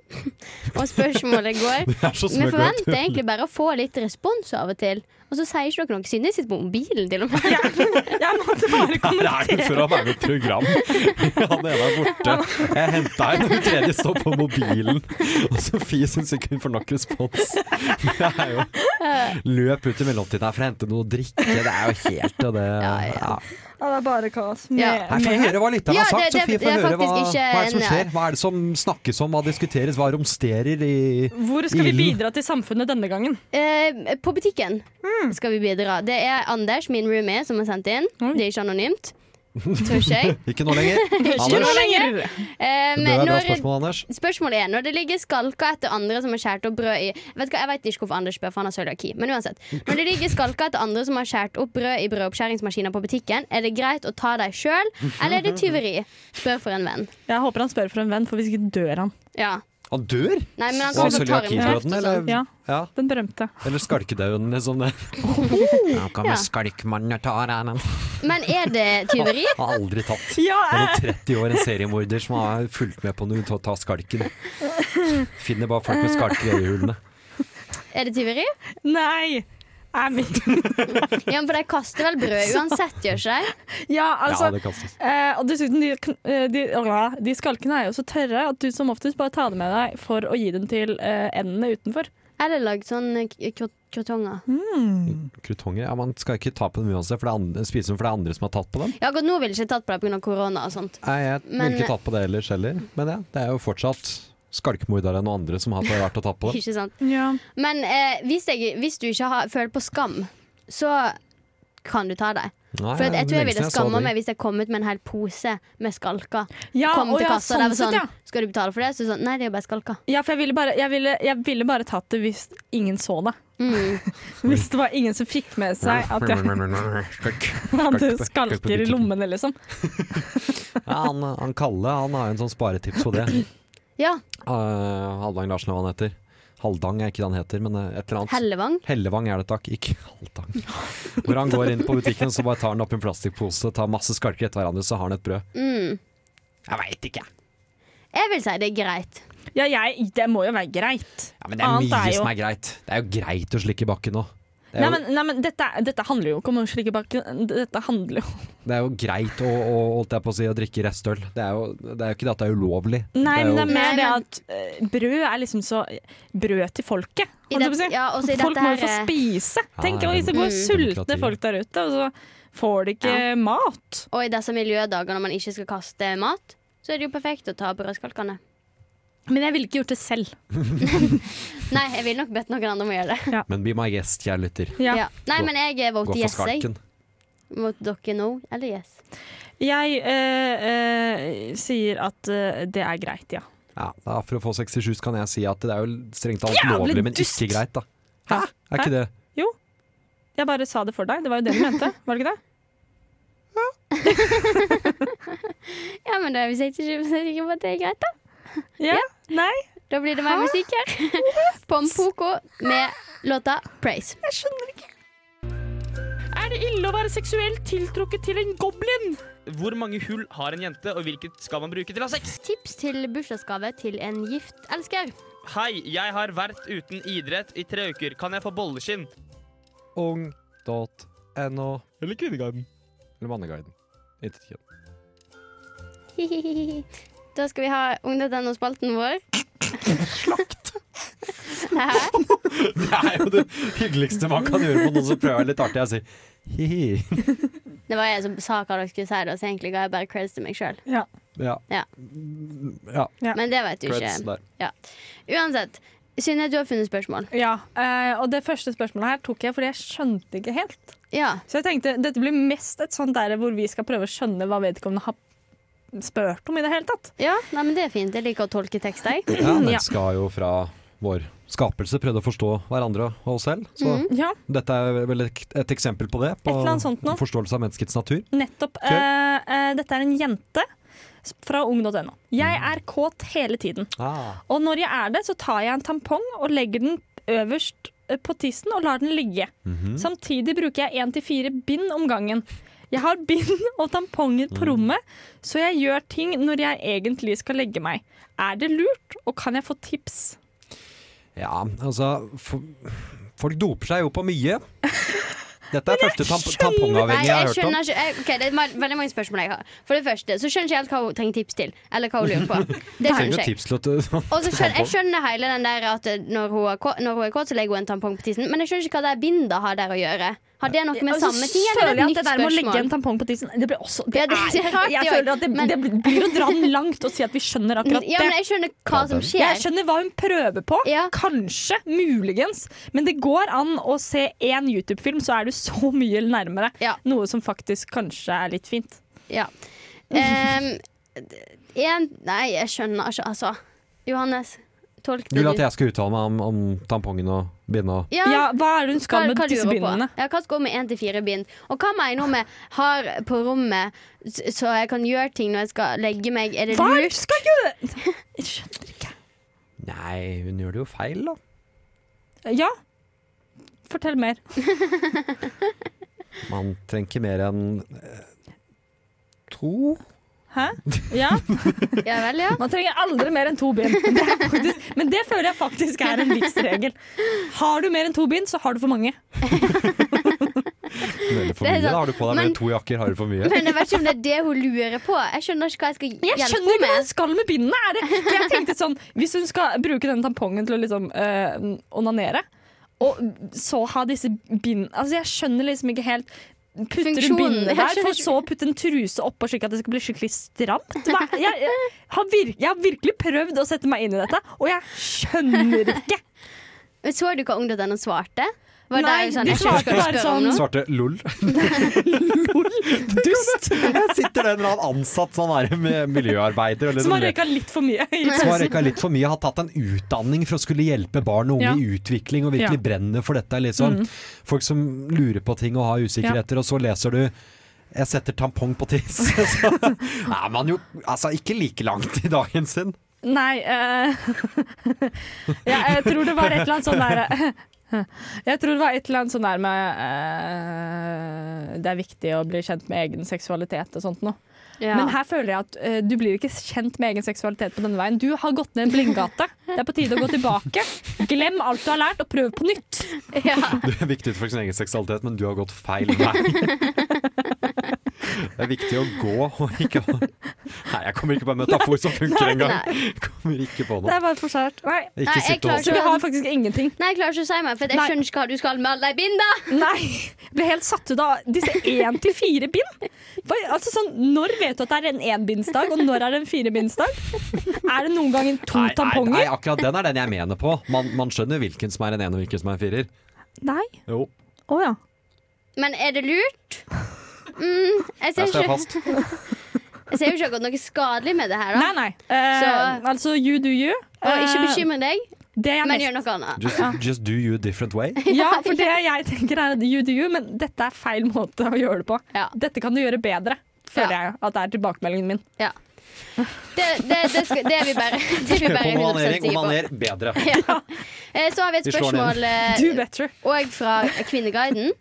Speaker 3: Og spørsmålet går
Speaker 4: Det er så
Speaker 3: Vi
Speaker 4: smøkk, vet du.
Speaker 3: forventer egentlig bare å få litt respons av og til. Og så sier ikke dere noe siden jeg sitter på mobilen til og med.
Speaker 1: Ja. Jeg måtte bare
Speaker 4: Det er jo
Speaker 1: kommentere.
Speaker 4: for å være med i et program. Han ene er borte. Jeg henta en, den tredje står på mobilen. Og Sofie syns ikke hun får nok respons. Det er jo Løp ut i mellomtiden her for å hente noe å drikke. Det er jo helt og det
Speaker 3: Ja, ja.
Speaker 4: ja.
Speaker 1: Ja, det er bare kaos. Med,
Speaker 3: Ja.
Speaker 4: Nei, Få
Speaker 1: med.
Speaker 4: høre hva lytterne
Speaker 3: Ja,
Speaker 4: har sagt.
Speaker 3: det- det-
Speaker 4: Sofie,
Speaker 3: det
Speaker 4: få
Speaker 3: er
Speaker 4: høre hva,
Speaker 3: faktisk
Speaker 4: hva
Speaker 3: ikke
Speaker 4: er det som
Speaker 3: en- eh,
Speaker 4: skjer. Hva er det som snakkes om, hva diskuteres, hva romsterer i
Speaker 1: Hvor skal vi
Speaker 4: Ilden.
Speaker 1: bidra til samfunnet denne gangen?
Speaker 3: Eh, på butikken skal vi bidra. Det er Anders, min roomie, som har sendt inn.
Speaker 1: Oi.
Speaker 3: Det er ikke anonymt. Tør ikke jeg.
Speaker 4: Ikke nå lenger.
Speaker 3: Ikke nå
Speaker 4: Anders,
Speaker 3: lenger. Eh,
Speaker 4: det er
Speaker 3: men
Speaker 4: bra
Speaker 3: når,
Speaker 4: spørsmål, Anders.
Speaker 3: spørsmålet er når det ligger skalker etter andre som har skåret opp brød i Vet du hva, Jeg vet ikke hvorfor Anders spør, for han har cøliaki. Men uansett. Når det ligger skalker etter andre som har skåret opp brød i brødoppskjæringsmaskiner på butikken, er det greit å ta dem sjøl, eller er det tyveri? Spør for en venn.
Speaker 1: Jeg håper han spør for en venn, for hvis ikke dør han.
Speaker 3: Ja.
Speaker 4: Han dør?
Speaker 3: Nei, men han
Speaker 4: Og
Speaker 3: kan
Speaker 4: av
Speaker 3: få tarmkreft
Speaker 4: cøliakibrøden,
Speaker 3: og sånn.
Speaker 4: eller?
Speaker 1: Ja,
Speaker 4: Ja.
Speaker 1: den berømte.
Speaker 4: Eller skalkedauden, liksom. det. Nå
Speaker 3: Oh. Ja.
Speaker 4: kommer skalkmannen og tar henne.
Speaker 3: Men er det tyveri?
Speaker 4: Har aldri tatt.
Speaker 1: Ja,
Speaker 4: Det er noen 30 år en seriemorder som har fulgt med på noe til å ta skalken. Finner bare folk med skalker i øyehulene.
Speaker 3: Er det tyveri?
Speaker 1: Nei! Er mitt.
Speaker 3: Ja, men for de kaster vel brød uansett, gjør ikke de?
Speaker 1: Ja, altså
Speaker 4: Ja, det kastes.
Speaker 1: Eh, og dessuten, de, kn- eh, de, åh, de skalkene er jo så tørre at du som oftest bare tar dem med deg for å gi dem til eh, endene utenfor.
Speaker 3: Eller lagd sånn eh, kro- krotonger.
Speaker 4: Krutonger? Ja, man skal ikke ta på dem uansett, for det er andre, spiser dem for det er andre som har tatt på dem.
Speaker 3: Ja, godt, nå ville jeg ikke tatt på det pga. korona og sånt.
Speaker 4: Nei, jeg
Speaker 3: Men- eh,
Speaker 4: ville ikke tatt på det ellers heller, men ja, det er jo fortsatt skalkmordere og andre som har vært og tatt på det.
Speaker 3: Ikke sant?
Speaker 1: Ja.
Speaker 3: Men eh, hvis, jeg, hvis du ikke har, føler på skam, så kan du ta det.
Speaker 4: Nei,
Speaker 3: For at jeg tror jeg
Speaker 4: lenge siden
Speaker 3: ville
Speaker 4: så
Speaker 3: skamma
Speaker 4: det.
Speaker 3: meg hvis jeg kom ut med en hel pose med skalker.
Speaker 1: Ja,
Speaker 3: kom
Speaker 1: og
Speaker 3: til
Speaker 1: ja,
Speaker 3: kassa, og
Speaker 1: sånn
Speaker 3: det var
Speaker 1: sett,
Speaker 3: sånn
Speaker 1: ja.
Speaker 3: Skal du betale for det? Så sånn, nei, det er jo bare skalker.
Speaker 1: ja, for jeg ville, bare, jeg, ville, jeg ville bare tatt det hvis ingen så det.
Speaker 3: Mm.
Speaker 1: Hvis det var ingen som fikk med seg at jeg
Speaker 4: Skalk.
Speaker 1: hadde
Speaker 4: på- skalk på
Speaker 1: skalker i
Speaker 4: butikken.
Speaker 1: lommene, liksom.
Speaker 4: Ja, han, han Kalle han har jo en sånn sparetips på det.
Speaker 3: Ja.
Speaker 4: Uh, Halvdan Larsen, hva han heter. Halvdang er ikke det han heter, men eh, et eller annet.
Speaker 3: Hellevang.
Speaker 4: Hellevang er det takk, ikke Halvdang. Hvor han går inn på butikken så bare tar han opp en plastikkpose, tar masse skalker etter hverandre, så har han et brød.
Speaker 3: Mm.
Speaker 4: Jeg veit ikke.
Speaker 3: Jeg vil si det er greit.
Speaker 8: Ja, jeg, det må jo være greit.
Speaker 4: Ja, men det er
Speaker 8: Annet
Speaker 4: mye
Speaker 8: er jo-
Speaker 4: som er greit. Det er jo greit å slikke bakken òg. Det,
Speaker 8: Nei,
Speaker 4: er jo-
Speaker 8: men, nei, men dette, dette handler jo ikke om å slikke bakken. Dette handler jo
Speaker 4: det er jo greit å, å, holdt jeg på å, si, å drikke restøl. Det er, jo, det er jo ikke det at det er ulovlig.
Speaker 8: Nei, men
Speaker 4: det er
Speaker 8: det
Speaker 4: jo,
Speaker 8: er mer
Speaker 3: Nei,
Speaker 8: det
Speaker 3: men-
Speaker 8: at eh, brød er liksom så Brød til folket,
Speaker 3: I
Speaker 8: holdt jeg på å
Speaker 3: det-
Speaker 8: si.
Speaker 3: ja, også i
Speaker 8: folk
Speaker 3: dette
Speaker 8: må jo få
Speaker 3: her, eh,
Speaker 8: spise. Tenk
Speaker 4: ja,
Speaker 8: hvis det går
Speaker 3: mm.
Speaker 8: sultne
Speaker 4: demokrati.
Speaker 8: folk der ute, og så får de ikke mat.
Speaker 3: Og i disse miljødagene når man ikke skal kaste mat, så er det jo perfekt å ta brødskalkene.
Speaker 8: Men jeg ville ikke gjort det selv.
Speaker 3: Nei, jeg ville nok bedt noen andre om å gjøre det.
Speaker 4: Men be my guest, kjære lytter.
Speaker 8: Ja.
Speaker 3: Ja. Nei, men jeg
Speaker 4: Gå
Speaker 3: voter
Speaker 4: for
Speaker 3: yes, jeg.
Speaker 4: skalken.
Speaker 3: Mot dere no eller yes.
Speaker 8: Jeg eh, eh, sier at eh, det er greit, ja.
Speaker 4: Ja, da, for å få 67 kan jeg si at det er jo strengt talt
Speaker 8: Jævlig
Speaker 4: lovlig, men
Speaker 8: dust!
Speaker 4: ikke greit, da. Hæ? Er ikke det
Speaker 8: Jeg bare sa det for deg. Det var jo det du mente, var det ikke det?
Speaker 3: Ja, men da er vi 67 sikre på at det er greit, da.
Speaker 8: Ja. Nei,
Speaker 3: Da blir det mer musikk her. Pompoko med låta 'Praise'.
Speaker 8: jeg skjønner ikke. Er det ille å være seksuelt tiltrukket til en goblin?
Speaker 2: Hvor mange hull har en jente, og hvilket skal man bruke til å ha sex?
Speaker 3: Tips til bursdagsgave til en gift elsker.
Speaker 2: Hei, jeg har vært uten idrett i tre uker. Kan jeg få bolleskinn?
Speaker 4: ung.no
Speaker 2: Eller Kvinneguiden.
Speaker 4: eller Manneguiden? Intet kjønn.
Speaker 3: Da skal vi ha Ungdom.no-spalten vår. Slakt. Hæ?
Speaker 4: Det er jo det hyggeligste man kan gjøre på noen som prøver litt artig. Jeg sier hi-hi.
Speaker 3: Det var jeg som sa hva dere skulle si, da, så egentlig ga jeg bare creds til meg sjøl.
Speaker 4: Ja.
Speaker 3: Ja.
Speaker 4: ja.
Speaker 3: Men det vet du
Speaker 4: Creds
Speaker 3: ikke.
Speaker 4: der.
Speaker 3: Uansett. Synne, du har funnet spørsmål.
Speaker 8: Ja, eh, og det første spørsmålet her tok jeg fordi jeg skjønte ikke helt.
Speaker 3: Ja.
Speaker 8: Så jeg tenkte dette blir mest et sånt der hvor vi skal prøve å skjønne hva vedkommende har spurt om i det hele tatt.
Speaker 3: ja nei, men det er fint. Jeg liker å tolke tekster, jeg.
Speaker 4: Ja,
Speaker 8: Ja.
Speaker 4: mennesket har jo fra vår skapelse prøvd å forstå hverandre og oss selv. Så
Speaker 8: Ja,
Speaker 4: dette er vel et, et eksempel på det. På
Speaker 8: Mhm. eller annet sånt nå.
Speaker 4: forståelse av menneskets natur.
Speaker 8: nettopp.
Speaker 4: Kjør.
Speaker 8: Eh, eh, dette er en jente s- fra ung.no. Jeg er kåt hele tiden,
Speaker 4: Ah.
Speaker 8: og når jeg er det, så tar jeg en tampong og legger den øverst eh, på tissen og lar den ligge.
Speaker 4: Mhm.
Speaker 8: Samtidig bruker jeg én til fire bind om gangen. Jeg har bind og tamponger på rommet, så jeg gjør ting når jeg egentlig skal legge meg. Er det lurt, og kan jeg få tips?
Speaker 4: Ja, altså fo- Folk doper seg jo på mye. Dette er første tamp
Speaker 3: Nei,
Speaker 4: tampongavhengige jeg har
Speaker 3: jeg
Speaker 4: hørt om.
Speaker 3: skjønner ikke jeg, ok, Det er ma- veldig mange spørsmål jeg har. For det første så skjønner ikke jeg helt hva hun trenger tips til. Eller hva hun lurer på. Det
Speaker 4: Trenger jo
Speaker 3: skjønner ikke jeg.
Speaker 4: tips til at
Speaker 3: Og så skjønner, jeg skjønner hele den der at eh, når hun er kå- når hun er kåt, så legger hun en tampong på tissen. Men jeg skjønner ikke hva det bindet har der å gjøre. Har det noe med
Speaker 8: Altså,
Speaker 3: samme ting,
Speaker 8: føler
Speaker 3: eller er
Speaker 8: jeg at
Speaker 3: det et nytt
Speaker 8: det der med å legge en
Speaker 3: spørsmål?
Speaker 8: tampong på tissen Det blir også det
Speaker 3: Ja,
Speaker 8: er,
Speaker 3: det er rart,
Speaker 8: Jeg
Speaker 3: det
Speaker 8: føler
Speaker 3: også.
Speaker 8: at det,
Speaker 3: Men-
Speaker 8: det blir å dra den langt å si at vi skjønner akkurat
Speaker 3: Ja, men
Speaker 8: det.
Speaker 3: jeg skjønner hva som
Speaker 8: Jeg
Speaker 3: skjer.
Speaker 8: skjønner hva hun prøver på.
Speaker 3: Ja.
Speaker 8: Kanskje, muligens. Men det går an å se én YouTube-film, så er du så mye nærmere.
Speaker 3: Ja.
Speaker 8: Noe som faktisk kanskje er litt fint.
Speaker 3: Ja. Ehm, en, nei, jeg skjønner ikke, altså. Johannes, tolk
Speaker 4: Du
Speaker 3: det
Speaker 4: vil at jeg skal uttale meg om, om tampongen og bindet og
Speaker 8: Ja, hva er det hun skal med
Speaker 3: lurer
Speaker 8: disse
Speaker 3: på?
Speaker 8: bindene?
Speaker 3: Ja, hva skal hun med én til fire bind? Og hva mener hun med har på rommet, s- så jeg kan gjøre ting når jeg skal legge meg? Er det
Speaker 8: Hva er det
Speaker 3: lurt?
Speaker 8: du skal gjøre? Jeg skjønner ikke.
Speaker 4: Nei, hun gjør det jo feil, da.
Speaker 8: Ja. Fortell mer.
Speaker 4: Man trenger ikke mer enn eh, to
Speaker 8: Hæ? Ja,
Speaker 3: Ja vel, ja.
Speaker 8: Man trenger aldri mer enn to bind. Det er faktisk, men det føler jeg faktisk er en livsregel. Har du mer enn to bind, så har du for mange.
Speaker 4: Eller for
Speaker 3: Det er
Speaker 4: mye. Da
Speaker 3: sant.
Speaker 4: har du på deg mer
Speaker 3: Men-
Speaker 4: enn to jakker, har du for mye.
Speaker 3: Men jeg vet ikke om det er det hun lurer på. Jeg skjønner ikke hva jeg skal
Speaker 8: Jeg
Speaker 3: hjelpe
Speaker 8: skjønner
Speaker 3: henne
Speaker 8: ikke hva hun
Speaker 3: med.
Speaker 8: skal med bindene. Er det? For jeg tenkte sånn, Hvis hun skal bruke den tampongen til å liksom eh, onanere, og så ha disse bind... Altså, jeg skjønner liksom ikke helt Putter du
Speaker 3: Funksjonen.
Speaker 8: bindene
Speaker 3: Jeg
Speaker 8: der,
Speaker 3: skjønner
Speaker 8: for så å putte en truse oppå slik at det skal bli skikkelig stramt? Hva? Jeg, jeg, har vir jeg har virkelig prøvd å sette meg inn i dette, og jeg skjønner ikke.
Speaker 3: Men Så du hva ungdommen svarte? Var
Speaker 8: Nei,
Speaker 3: det jo sånn,
Speaker 8: de
Speaker 3: jeg skjønner
Speaker 8: svarte
Speaker 3: ikke hva
Speaker 8: bare
Speaker 3: du spør om
Speaker 8: sånn-
Speaker 3: nå.
Speaker 4: Svarte lol.
Speaker 8: Dust!
Speaker 4: Her sitter det en eller annen ansatt sånn der med miljøarbeider eller
Speaker 8: Som
Speaker 4: noe.
Speaker 8: har røyka litt for mye. i
Speaker 4: Som har
Speaker 8: pausen.
Speaker 4: røyka litt for mye, har tatt en utdanning for å skulle hjelpe barn og unge
Speaker 8: Ja.
Speaker 4: i utvikling og
Speaker 8: Ja.
Speaker 4: virkelig
Speaker 8: Mm.
Speaker 4: brenner for dette. Liksom. Folk som lurer på ting og har usikkerheter, og så leser du 'jeg setter tampong på tiss'. så er man jo altså, ikke like langt i dagen sin.
Speaker 1: Nei eh, ja, Jeg tror det var et eller annet sånn der Jeg tror det var et eller annet sånn der med eh, Det er viktig å bli kjent med egen seksualitet og sånt noe.
Speaker 3: Ja.
Speaker 1: Men her føler jeg at eh, du blir ikke kjent med egen seksualitet på denne veien. Du har gått ned en blindgate. Det er på tide å gå tilbake. Glem alt du har lært, og prøv på nytt.
Speaker 3: ja.
Speaker 4: Du er viktig for sin egen seksualitet, men du har gått feil vei. Det er viktig å gå og ikke å Nei, jeg kommer ikke på en metafor som funker engang. Jeg Kommer ikke på
Speaker 1: Det
Speaker 4: noe.
Speaker 1: er bare for sært. Nei.
Speaker 4: Ikke
Speaker 3: Nei, jeg
Speaker 4: sitte og
Speaker 3: klarer
Speaker 1: Så vi har faktisk ingenting.
Speaker 3: Nei, jeg klarer ikke å si meg, for jeg
Speaker 1: Nei.
Speaker 3: skjønner ikke hva du skal melde deg bind, da.
Speaker 1: Nei, ble helt satt ut av disse én til fire bind. Hva- Altså sånn, når vet du at det er en énbindsdag, og når er det en firebindsdag? Er det noen gang en to
Speaker 4: Nei, nei, nei,
Speaker 1: tamponger?
Speaker 4: akkurat den er den jeg mener på. Man, man skjønner hvilken som er en en og hvilken som er en firer.
Speaker 1: Nei.
Speaker 4: Jo,
Speaker 1: Å ja.
Speaker 3: Men er det lurt? Mm, jeg ser
Speaker 4: der står jeg
Speaker 3: ikke,
Speaker 4: fast.
Speaker 3: jeg ser jo ikke akkurat noe skadelig med det her, da.
Speaker 1: Nei, nei. Eh,
Speaker 3: Så-
Speaker 1: altså you do you.
Speaker 3: Og ikke
Speaker 1: Eh,
Speaker 3: bekymre deg,
Speaker 1: det er
Speaker 3: men
Speaker 1: mest
Speaker 3: gjør noe annet.
Speaker 4: Just, just do you a different way.
Speaker 1: Ja, for det jeg tenker er at you do you, men dette er feil måte å gjøre det på.
Speaker 3: Ja.
Speaker 1: Dette kan du gjøre bedre, føler
Speaker 3: Ja.
Speaker 1: jeg at det er tilbakemeldingen min.
Speaker 3: Det, det, det, skal, det er vi bare, det er vi bare
Speaker 4: På
Speaker 3: 100
Speaker 4: onanering,
Speaker 3: sikre på.
Speaker 4: onaner bedre.
Speaker 3: Eh, Så har vi et
Speaker 4: Vi slår
Speaker 3: spørsmål
Speaker 1: Do
Speaker 3: eh,
Speaker 1: better.
Speaker 3: òg fra Kvinneguiden.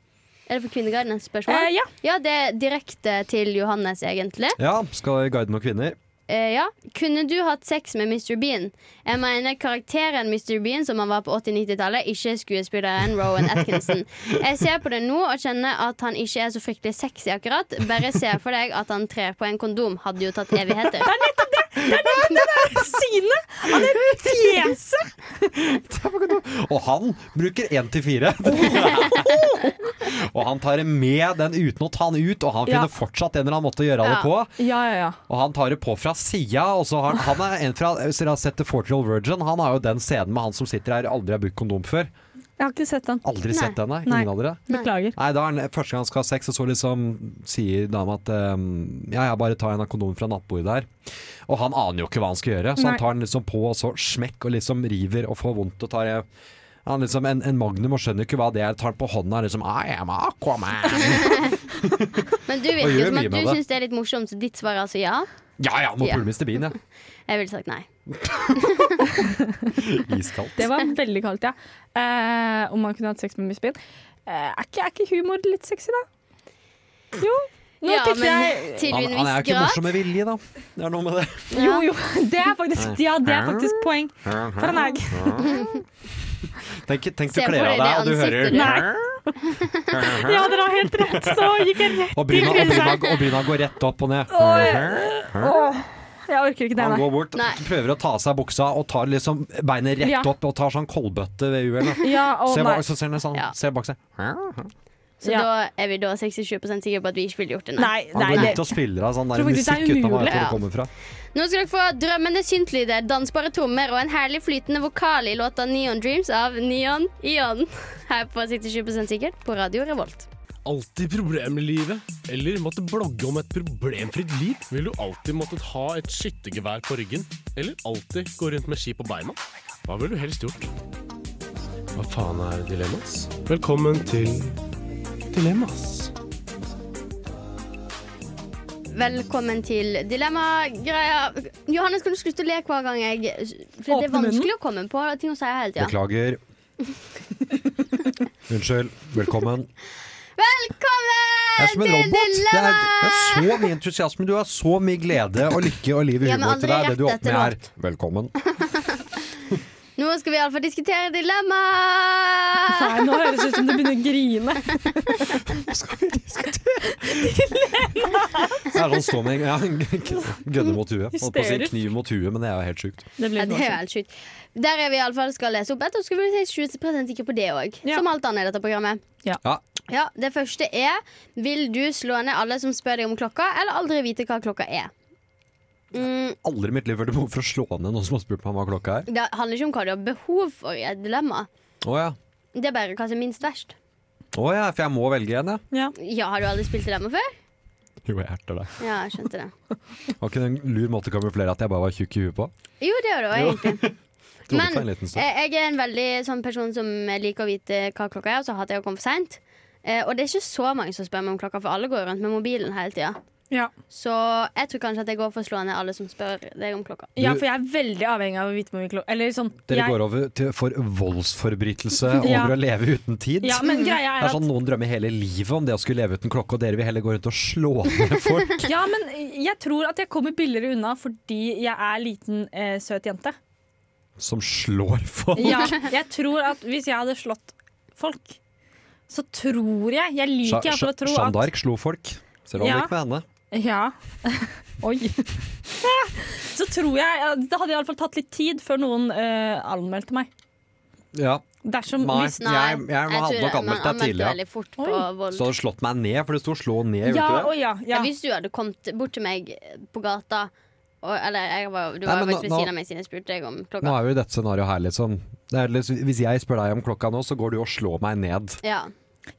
Speaker 3: Er det fra Kvinneguiden et
Speaker 1: Eh,
Speaker 3: spørsmål?
Speaker 1: ja.
Speaker 3: Ja, det er direkte til Johannes, egentlig.
Speaker 4: Ja, skal guide noen kvinner.
Speaker 3: Eh, ja. Kunne du hatt sex med Mr. Bean? Jeg mener karakteren Mr. Bean som han var på 80-90-tallet, ikke skuespilleren Rowan Atkinson. Jeg ser på det nå og kjenner at han ikke er så fryktelig sexy akkurat. Bare se for deg at han trer på en kondom. Hadde jo tatt evigheter.
Speaker 1: Synet av det fjeset!
Speaker 4: Og han bruker én til fire. Og han tar med den uten å ta den ut, og han
Speaker 1: Ja.
Speaker 4: finner fortsatt en eller annen måte å gjøre
Speaker 3: Ja.
Speaker 4: det på.
Speaker 1: Ja, ja, ja.
Speaker 4: Og han tar det på fra sida. Og så har han, han er en fra Hvis dere har sett The Fortune Virgin, han har jo den scenen med han som sitter her og aldri har brukt kondom før.
Speaker 1: Jeg har ikke sett den.
Speaker 4: Aldri
Speaker 3: Nei.
Speaker 4: sett den, nei.
Speaker 1: Nei.
Speaker 4: Ingen av dere?
Speaker 1: Beklager.
Speaker 4: Nei, da er han, Første gang han skal ha sex, og så liksom sier dama at ehm, Ja, jeg bare tar en av kondomen fra nattbordet der. Og han aner jo ikke hva han skal gjøre, så
Speaker 1: Nei.
Speaker 4: han tar den liksom på, og så smekk, og liksom river og får vondt og tar eh, han liksom, en, en magnum og skjønner ikke hva det er, tar den på hånda og liksom I am Aquaman!
Speaker 3: Men du
Speaker 4: Og
Speaker 3: virker
Speaker 4: gjør
Speaker 3: jo som
Speaker 4: mye
Speaker 3: at du
Speaker 4: med det.
Speaker 3: syns det er litt morsomt, så ditt svar er altså ja?
Speaker 4: Ja ja, må
Speaker 3: Ja.
Speaker 4: pule Mr. Bean, ja.
Speaker 3: Jeg ville sagt nei.
Speaker 4: Iskaldt.
Speaker 1: Det var veldig kaldt, ja. Eh, om man kunne hatt sex med Miss Bean. Eh, er, ikke, er ikke humor litt sexy, da? Jo. Nå
Speaker 3: Ja,
Speaker 1: tenkte
Speaker 3: men
Speaker 1: jeg
Speaker 3: til
Speaker 4: Han,
Speaker 3: en
Speaker 4: han er
Speaker 3: viss
Speaker 4: jo ikke
Speaker 3: grad.
Speaker 4: morsom med vilje, da. Det er noe med det.
Speaker 1: Jo, jo. Det er faktisk, ja, det er faktisk poeng. For han er ikke
Speaker 4: Tenk, tenk du
Speaker 3: Se for
Speaker 4: kler av
Speaker 3: deg det
Speaker 4: deg, og du hører
Speaker 3: ansiktet
Speaker 1: Ja, dere har helt rett. Nå gikk jeg rett
Speaker 4: Og bryna, og, bryna, og bryna går rett opp og ned.
Speaker 1: Åh, Jeg orker ikke det,
Speaker 4: Han
Speaker 1: nei.
Speaker 4: går bort,
Speaker 3: Nei.
Speaker 4: prøver å ta av seg buksa og tar liksom beinet rett
Speaker 1: Ja.
Speaker 4: opp og tar sånn koldbøtte ved uhellet.
Speaker 1: Ja, å
Speaker 4: Så jeg
Speaker 1: nei.
Speaker 4: bare- så ser han sånn,
Speaker 3: Ja.
Speaker 4: ser bak seg.
Speaker 3: Så
Speaker 1: Ja.
Speaker 3: da er vi da 67 sikre på at vi ikke ville gjort det.
Speaker 1: Nei,
Speaker 4: Han går
Speaker 1: nei
Speaker 4: rundt
Speaker 1: det.
Speaker 4: og spiller av sånn der
Speaker 1: Tror faktisk det er
Speaker 4: musikk uten å vite
Speaker 1: umulig,
Speaker 4: hvor det
Speaker 3: ja.
Speaker 4: kommer fra.
Speaker 3: Nå skal dere få drømmende syntlyder, dansbare trommer og en herlig flytende vokal i låta Neon Dreams av Neon Ion. Her på 67 sikkert på Radio Revolt.
Speaker 9: alltid problemer i livet? Eller måtte blogge om et problemfritt liv? Vil du alltid måttet ha et skyttergevær på ryggen? Eller alltid gå rundt med ski på beina? Hva ville du helst gjort? Hva faen er dilemmas? Velkommen til Dilemmas.
Speaker 3: Velkommen til Dilemma-greia. Johannes, kan du slutte å le hver gang jeg For det
Speaker 1: Åpne
Speaker 3: er
Speaker 1: munnen.
Speaker 3: vanskelig å komme på ting å si hele tida.
Speaker 4: Beklager. Unnskyld. Velkommen. Det er som
Speaker 3: Velkommen
Speaker 4: en
Speaker 3: til
Speaker 4: robot. Det er, det er
Speaker 3: Dilemma!
Speaker 4: så mye entusiasme. Du har så mye glede og lykke og liv i
Speaker 3: Ja, men
Speaker 4: humor til deg.
Speaker 3: aldri
Speaker 4: Det du
Speaker 3: rett
Speaker 4: åpner
Speaker 3: etter
Speaker 4: er velkommen.
Speaker 3: Nå skal vi iallfall diskutere dilemma.
Speaker 1: Nei, nå høres det ut som du begynner å grine.
Speaker 4: Det er sånn stå med ja, gønne mot huet. Holdt på å si
Speaker 1: Hysterisk.
Speaker 4: kniv mot huet, men det er jo helt sjukt.
Speaker 1: Det
Speaker 3: Ja,
Speaker 1: blir
Speaker 3: det er jo helt sjukt. Der er vi iallfall skal lese opp et, og så skal vi si 20 sikre på det òg.
Speaker 1: Ja.
Speaker 3: Som alt annet i dette programmet.
Speaker 4: Ja.
Speaker 3: Ja, Det første er Vil du slå ned alle som spør deg om klokka, eller aldri vite hva klokka er? Mm,
Speaker 4: Aldri i mitt liv hørt behov for å slå ned noen som har spurt meg hva klokka er.
Speaker 3: det handler ikke om hva du har behov for i et dilemma.
Speaker 4: Å ja.
Speaker 3: Det er bare hva som er minst verst.
Speaker 4: Å ja, for jeg må velge en, ja.
Speaker 3: Ja, Har du aldri spilt dilemma før?
Speaker 4: Jo, jeg erter deg.
Speaker 3: Ja, jeg skjønte det.
Speaker 4: Var ikke det en lur måte å kamuflere at jeg bare var tjukk i huet på?
Speaker 3: Jo, det var det òg, egentlig.
Speaker 4: Trodde
Speaker 3: Men-
Speaker 4: for en liten stund.
Speaker 3: Jeg jeg er en veldig sånn person som liker å vite hva klokka er, og så hater jeg å komme for seint. Eh, og det er ikke så mange som spør meg om klokka, for alle går rundt med mobilen hele tida.
Speaker 8: Ja.
Speaker 3: Så jeg tror kanskje at jeg går for å slå ned alle som spør deg om klokka.
Speaker 8: eh, ja, for jeg er veldig avhengig av å vite hvor mye klokka Eller sånn
Speaker 4: Dere
Speaker 8: jeg,
Speaker 4: går over til, for voldsforbrytelse
Speaker 8: Ja.
Speaker 4: over å leve uten tid.
Speaker 8: Ja, men greia
Speaker 4: det
Speaker 8: er
Speaker 4: er
Speaker 8: at
Speaker 4: sånn Noen drømmer hele livet om det å skulle leve uten klokke, og dere vil heller gå rundt og slå ned folk.
Speaker 8: Ja, men jeg tror at jeg kommer billigere unna fordi jeg er liten, eh, søt jente.
Speaker 4: Som slår folk.
Speaker 8: Ja, jeg tror at hvis jeg hadde slått folk, så tror jeg Jeg
Speaker 4: Sja-
Speaker 8: liker iallfall å
Speaker 4: Sja-
Speaker 8: tro
Speaker 4: Jeanne
Speaker 8: at
Speaker 4: d'Arc slo folk. Ser du hva det
Speaker 8: Ja.
Speaker 4: gikk med henne?
Speaker 8: Ja. Oi. så tror jeg Det hadde iallfall tatt litt tid før noen eh, anmeldte meg.
Speaker 4: Ja,
Speaker 8: Dersom
Speaker 4: Nei.
Speaker 8: hvis
Speaker 4: Jeg- jeg hadde
Speaker 3: tror
Speaker 4: nok anmeldt
Speaker 3: man
Speaker 4: deg
Speaker 3: anmeldte
Speaker 4: tidlig, ja.
Speaker 3: veldig
Speaker 8: Oi.
Speaker 3: fort på vold.
Speaker 4: Så hadde du slått meg ned, for det sto 'slå ned'. gjorde
Speaker 8: Ja,
Speaker 4: ikke det?
Speaker 8: å ja.
Speaker 3: Ja.
Speaker 8: ja.
Speaker 3: Hvis du hadde kommet bort til meg på gata og, Eller jeg var, du
Speaker 4: Nei,
Speaker 3: var
Speaker 4: men nå-
Speaker 3: jo ved
Speaker 4: nå-
Speaker 3: siden av meg siden jeg spurte deg om
Speaker 4: Nå
Speaker 3: klokka.
Speaker 4: er vi i dette scenarioet her, liksom. Det er, litt- hvis jeg spør deg om klokka nå, så går du og slår meg ned.
Speaker 3: Ja.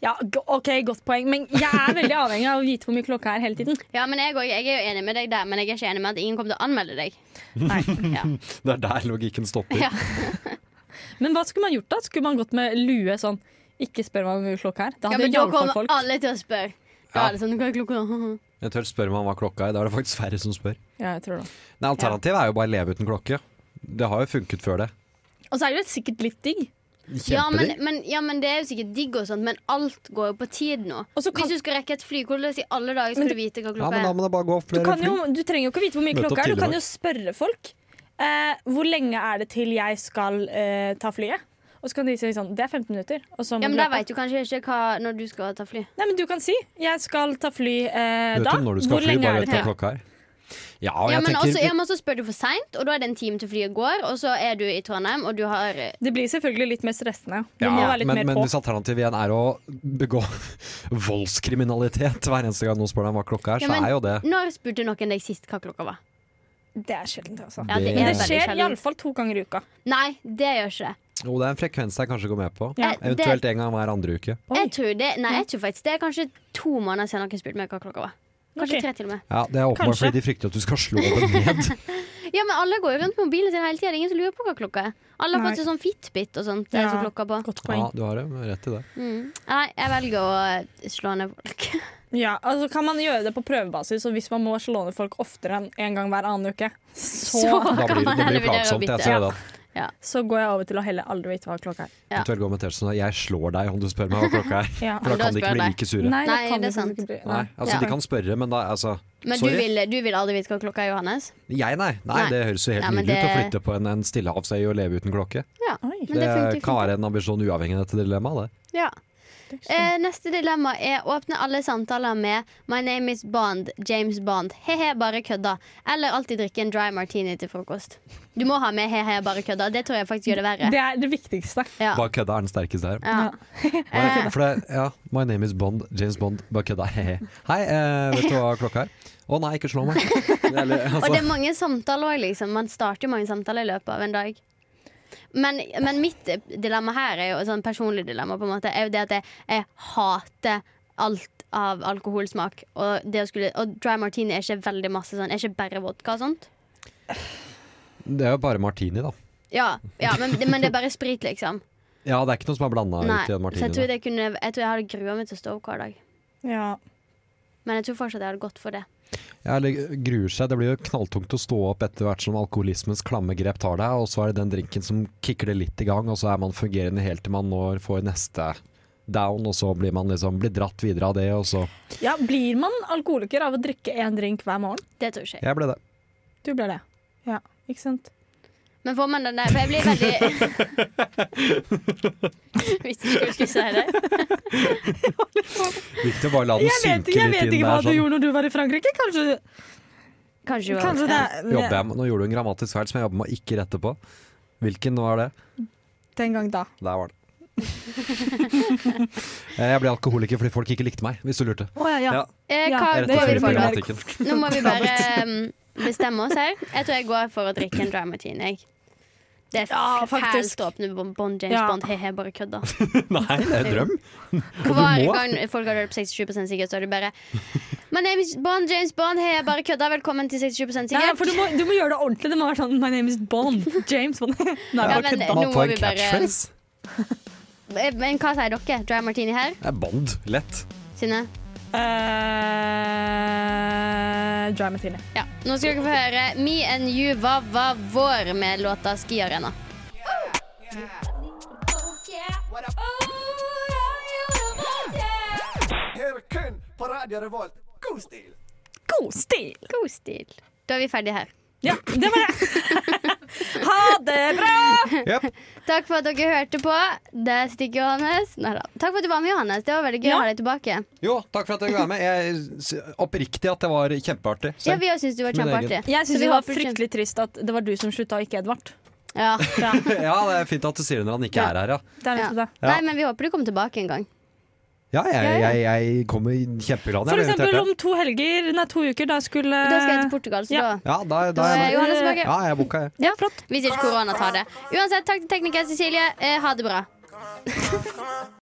Speaker 8: ja, g- OK, godt poeng. Men jeg er veldig avhengig av å vite hvor mye klokka er hele tiden.
Speaker 3: ja, men jeg, og- jeg er jo enig med deg der, men jeg er ikke enig med at ingen kommer til å anmelde deg.
Speaker 4: Det er der logikken stopper.
Speaker 3: Ja.
Speaker 8: Men hva skulle man gjort da? Skulle man gått med lue sånn Ikke spør meg hvor mye klokka er. Da
Speaker 3: Ja,
Speaker 8: hadde
Speaker 3: men
Speaker 8: ja,
Speaker 3: da
Speaker 8: iallfall
Speaker 3: kommer
Speaker 8: folk
Speaker 3: alle til å spørre. Da
Speaker 4: Ja.
Speaker 3: er det sånn, hva er klokka?
Speaker 4: Eventuelt spør man hva klokka er. Da er det faktisk færre som spør.
Speaker 8: ja, jeg tror det.
Speaker 4: Nei, Alternativet er jo bare å leve uten klokke. Det har jo funket før det.
Speaker 8: Og så er det jo sikkert litt digg.
Speaker 3: Ja men,
Speaker 4: Kjempedigg.
Speaker 3: men, ja, men det er jo sikkert digg og sånt, men alt går jo på tid nå.
Speaker 8: Og så kan,
Speaker 3: Hvis du skal rekke et fly, hvordan i alle dager
Speaker 8: Men
Speaker 3: skal du vite hva
Speaker 4: Ja,
Speaker 3: klokka
Speaker 4: men da
Speaker 3: er?
Speaker 4: må det bare gå
Speaker 8: du,
Speaker 4: flere
Speaker 8: kan
Speaker 4: fly.
Speaker 8: jo, du trenger jo ikke vite hvor mye
Speaker 4: Møte opp
Speaker 8: klokka er. Du
Speaker 4: tidlig,
Speaker 8: kan
Speaker 4: da.
Speaker 8: jo spørre folk. Eh, hvor lenge er det til jeg skal eh, ta flyet? Og så kan de si sånn Det er 15 minutter. Og så må
Speaker 3: Ja,
Speaker 8: du
Speaker 3: men Da
Speaker 8: løpe.
Speaker 3: vet du kanskje ikke hva, når du skal ta fly.
Speaker 8: Nei, men du kan si 'jeg skal ta fly eh,
Speaker 4: Du vet
Speaker 8: da'.
Speaker 4: jo når du skal
Speaker 8: hvor
Speaker 4: fly,
Speaker 8: lenge
Speaker 4: bare
Speaker 8: er
Speaker 4: vet
Speaker 8: det
Speaker 4: hva
Speaker 8: til? altså,
Speaker 4: klokka er. Ja, og
Speaker 3: Ja,
Speaker 4: jeg
Speaker 3: men,
Speaker 4: tenker
Speaker 3: også, ja, men så spør du for seint, og da er det en time til flyet går, og så er du i Trondheim, og du har eh,
Speaker 8: Det blir selvfølgelig litt mer stressende. Du
Speaker 4: Ja,
Speaker 8: må være litt
Speaker 4: men,
Speaker 8: mer
Speaker 4: men
Speaker 8: på.
Speaker 4: hvis alternativet igjen er å begå voldskriminalitet hver eneste gang noen spør deg hva klokka er,
Speaker 3: Ja,
Speaker 4: så
Speaker 3: men-
Speaker 4: er jo det
Speaker 3: Når spurte noen deg sist hva klokka var?
Speaker 8: Det er sjeldent, altså.
Speaker 3: Ja, det
Speaker 4: Det-
Speaker 3: er
Speaker 8: Men det
Speaker 3: veldig
Speaker 8: skjer
Speaker 3: sjeldent.
Speaker 8: iallfall to ganger i uka.
Speaker 3: Nei, det gjør ikke det.
Speaker 4: Jo, det er en frekvens jeg kanskje går med på.
Speaker 8: Ja.
Speaker 3: Eh,
Speaker 4: Eventuelt en gang hver andre uke.
Speaker 8: Oi. Mm.
Speaker 3: det, jeg tror det. Nei, jeg tror faktisk det er kanskje to måneder siden noen spurte meg hva klokka var. Kanskje
Speaker 8: Ok.
Speaker 3: tre til og med.
Speaker 4: Ja, Det er åpenbart
Speaker 8: Kanskje.
Speaker 4: fordi de frykter at du skal slå dem ned.
Speaker 3: Ja, men alle går jo rundt med mobilen sin hele tida. Ingen som lurer på hva klokka er. Alle har
Speaker 8: Nei.
Speaker 3: fått seg sånn Fitbit og sånt. Det
Speaker 8: Ja.
Speaker 3: er så klokka på.
Speaker 8: Godt
Speaker 4: Ja,
Speaker 8: poeng.
Speaker 4: du har jo rett i det.
Speaker 3: Mm. Nei, jeg velger å eh, slå ned folk.
Speaker 8: Ja, altså Kan man gjøre det på prøvebasis, og hvis man må slå ned folk oftere enn en gang hver annen uke, så,
Speaker 3: Så-
Speaker 4: Da
Speaker 3: kan
Speaker 4: blir,
Speaker 3: man
Speaker 4: det
Speaker 3: heller
Speaker 4: blir
Speaker 3: vurdere å
Speaker 4: plagsomt.
Speaker 3: bytte.
Speaker 4: Jeg ser det.
Speaker 8: så går jeg over til å heller aldri vite hva klokka er.
Speaker 3: Ja.
Speaker 4: Eventuelt gå med T-skjorte sånn at 'jeg slår deg' om du spør meg hva klokka er.
Speaker 8: Ja.
Speaker 4: For da
Speaker 3: Da
Speaker 4: kan de ikke
Speaker 3: spør jeg
Speaker 4: bli
Speaker 3: deg.
Speaker 4: like sure. Nei,
Speaker 8: da
Speaker 3: Nei,
Speaker 8: kan
Speaker 3: det er
Speaker 8: du
Speaker 3: sant.
Speaker 8: faktisk ikke bli- Nei.
Speaker 4: altså
Speaker 3: Ja.
Speaker 4: De kan spørre, men da altså
Speaker 3: Men du
Speaker 4: Sorry.
Speaker 3: vil, du vil aldri vite hva klokka er, Johannes?
Speaker 4: Jeg, nei. Nei,
Speaker 3: Nei.
Speaker 4: Det høres jo helt
Speaker 3: Nei, men
Speaker 4: nydelig ut å
Speaker 3: det-
Speaker 4: flytte på en, en stillehavsøy og leve uten klokke.
Speaker 3: Ja.
Speaker 8: Oi.
Speaker 4: Det,
Speaker 3: Men det
Speaker 4: kan
Speaker 3: funker fint.
Speaker 4: være en ambisjon uavhengig av dette dilemmaet. det.
Speaker 3: Ja. Eh, neste dilemma er åpne alle samtaler med My name is Bond, James Bond, he-he, bare kødda. Eller alltid drikke en dry martini til frokost. Du må ha med he-he, bare kødda. Det tror jeg faktisk gjør det verre.
Speaker 8: Det er det viktigste.
Speaker 3: Ja.
Speaker 4: Bare kødda er den sterkeste her.
Speaker 3: Ja.
Speaker 4: Bare- For det, ja, My name is Bond, James Bond, bare kødda. Hehe. Hei, eh, vet du hva klokka er? Å nei, ikke slå meg. Eller,
Speaker 3: Og det
Speaker 4: altså,
Speaker 3: er mange samtaler òg, liksom. Man starter jo mange samtaler i løpet av en dag. Men, men mitt eh, dilemma her er jo et sånn personlig dilemma, på en måte, er jo det at jeg, jeg hater alt av alkoholsmak. Og, det å skulle, og dry martini er ikke veldig masse sånn, er ikke bare vodka og sånt.
Speaker 4: det er jo bare martini, da.
Speaker 3: Ja, ja men, men det er bare sprit, liksom.
Speaker 4: Ja, det er ikke noe som er blanda
Speaker 3: Nei,
Speaker 4: ut i en
Speaker 3: så jeg tror,
Speaker 4: martini. da.
Speaker 3: det kunne, jeg tror jeg hadde grua meg til å stå opp hver dag.
Speaker 8: Ja.
Speaker 3: Men jeg tror fortsatt jeg hadde gått for det.
Speaker 4: Ja, eller gruer seg. Det blir jo knalltungt å stå opp etter hvert som alkoholismens klamme grep tar deg, og så er det den drinken som kicker det litt i gang, og så er man fungerende helt til man når får neste down, og så blir man liksom blir dratt videre av det, og så
Speaker 8: ja, Blir man alkoholiker av å drikke én drink hver morgen?
Speaker 3: Det tror ikke jeg.
Speaker 4: Jeg ble det.
Speaker 8: Du blir det. Ja, ikke sant?
Speaker 3: Men får man den der For jeg blir veldig Hvis du ikke skulle si det.
Speaker 4: Viktig å bare la den
Speaker 8: Jeg vet,
Speaker 4: synke
Speaker 8: jeg
Speaker 4: litt
Speaker 8: vet
Speaker 4: inn
Speaker 8: ikke hva
Speaker 4: der.
Speaker 8: du
Speaker 4: Sånn.
Speaker 8: gjorde når du var i Frankrike. Kanskje,
Speaker 3: Kanskje du
Speaker 8: kanskje det er
Speaker 4: Jobber jeg, med- nå gjorde du en grammatisk feil som jeg jobber med å ikke rette på. Hvilken var det?
Speaker 8: Den gang da.
Speaker 4: Der var det. jeg ble alkoholiker fordi folk ikke likte meg, hvis du lurte.
Speaker 8: Å ja, ja.
Speaker 4: Ja.
Speaker 3: Eh,
Speaker 8: Ja,
Speaker 3: hva
Speaker 4: Jeg
Speaker 8: det
Speaker 4: retta
Speaker 3: går
Speaker 8: er
Speaker 4: feil
Speaker 3: vi
Speaker 4: i
Speaker 8: veldig
Speaker 3: for,
Speaker 8: bra.
Speaker 3: da?
Speaker 4: problematikken.
Speaker 3: Nå må vi bare ehm, bestemme oss her. Jeg tror jeg går for å drikke en dry martini. jeg. Det er
Speaker 8: Ja, faktisk.
Speaker 3: fælt å åpne Bon- Bond James
Speaker 8: Ja.
Speaker 3: Bond. He-he, bare kødda.
Speaker 4: Nei, det er en drøm.
Speaker 3: Hver
Speaker 4: må.
Speaker 3: gang folk har hørt på 67 sikkert, så er det bare My name is Bond, James Bond, he-he, bare kødda. Velkommen til 67
Speaker 8: Nei,
Speaker 3: sikkert.
Speaker 8: for du må, du må gjøre det ordentlig. Det må være sånn My name is Bond. James Bond. Eh, Nei,
Speaker 3: Ja,
Speaker 8: bare
Speaker 3: men-
Speaker 8: kødda.
Speaker 3: nå
Speaker 4: Man
Speaker 3: må
Speaker 4: får en
Speaker 3: vi bare-
Speaker 4: catchphrase.
Speaker 3: Eh, Men hva sier dere? Dry martini her?
Speaker 4: Det er Bond. Lett.
Speaker 3: Synne?
Speaker 8: Eh, eh, dry martini.
Speaker 3: Ja. Nå skal dere få høre Me and You Hva Var Vår med låta Ski Arena.
Speaker 8: God stil!
Speaker 3: God stil. Da er vi ferdige her.
Speaker 8: Ja, det var det. ha det bra!
Speaker 3: Takk for at dere hørte på. Det stikker Johannes. Neida. Takk for at du var med, Johannes. Det var veldig gøy
Speaker 8: Ja.
Speaker 3: å ha deg tilbake.
Speaker 4: Jo, takk for at jeg ville være med. Jeg s- Oppriktig at det var kjempeartig.
Speaker 3: Ja,
Speaker 4: selv.
Speaker 3: vi òg syns du var
Speaker 4: Min egen.
Speaker 3: kjempeartig.
Speaker 8: Jeg
Speaker 3: Så
Speaker 8: syns
Speaker 3: vi
Speaker 8: det var
Speaker 3: håper du-
Speaker 8: fryktelig trist at det var du som slutta, og ikke Edvard.
Speaker 3: Ja.
Speaker 8: Ja,
Speaker 4: Ja, det er fint at du sier det når han ikke
Speaker 3: Ja.
Speaker 4: er her, ja.
Speaker 8: det er nettopp det.
Speaker 4: Ja.
Speaker 3: Nei, men vi håper du kommer tilbake en gang.
Speaker 4: Ja, jeg,
Speaker 3: Ja,
Speaker 4: jeg, jeg kommer
Speaker 8: For
Speaker 4: kjempeglad. når jeg blir
Speaker 8: eksempel
Speaker 4: invitert,
Speaker 8: om to helger, nei, to uker, da skulle
Speaker 3: Da skal jeg til Portugal, så
Speaker 8: Ja.
Speaker 3: da
Speaker 4: Ja, Ja, da, da
Speaker 3: Da
Speaker 4: er
Speaker 3: er
Speaker 4: jeg med.
Speaker 3: Johannes tilbake.
Speaker 4: Ja, jeg er boka, jeg.
Speaker 8: Ja, flott.
Speaker 3: Vi sier ikke korona tar det. Uansett, takk til tekniker Cecilie. Eh, ha det bra.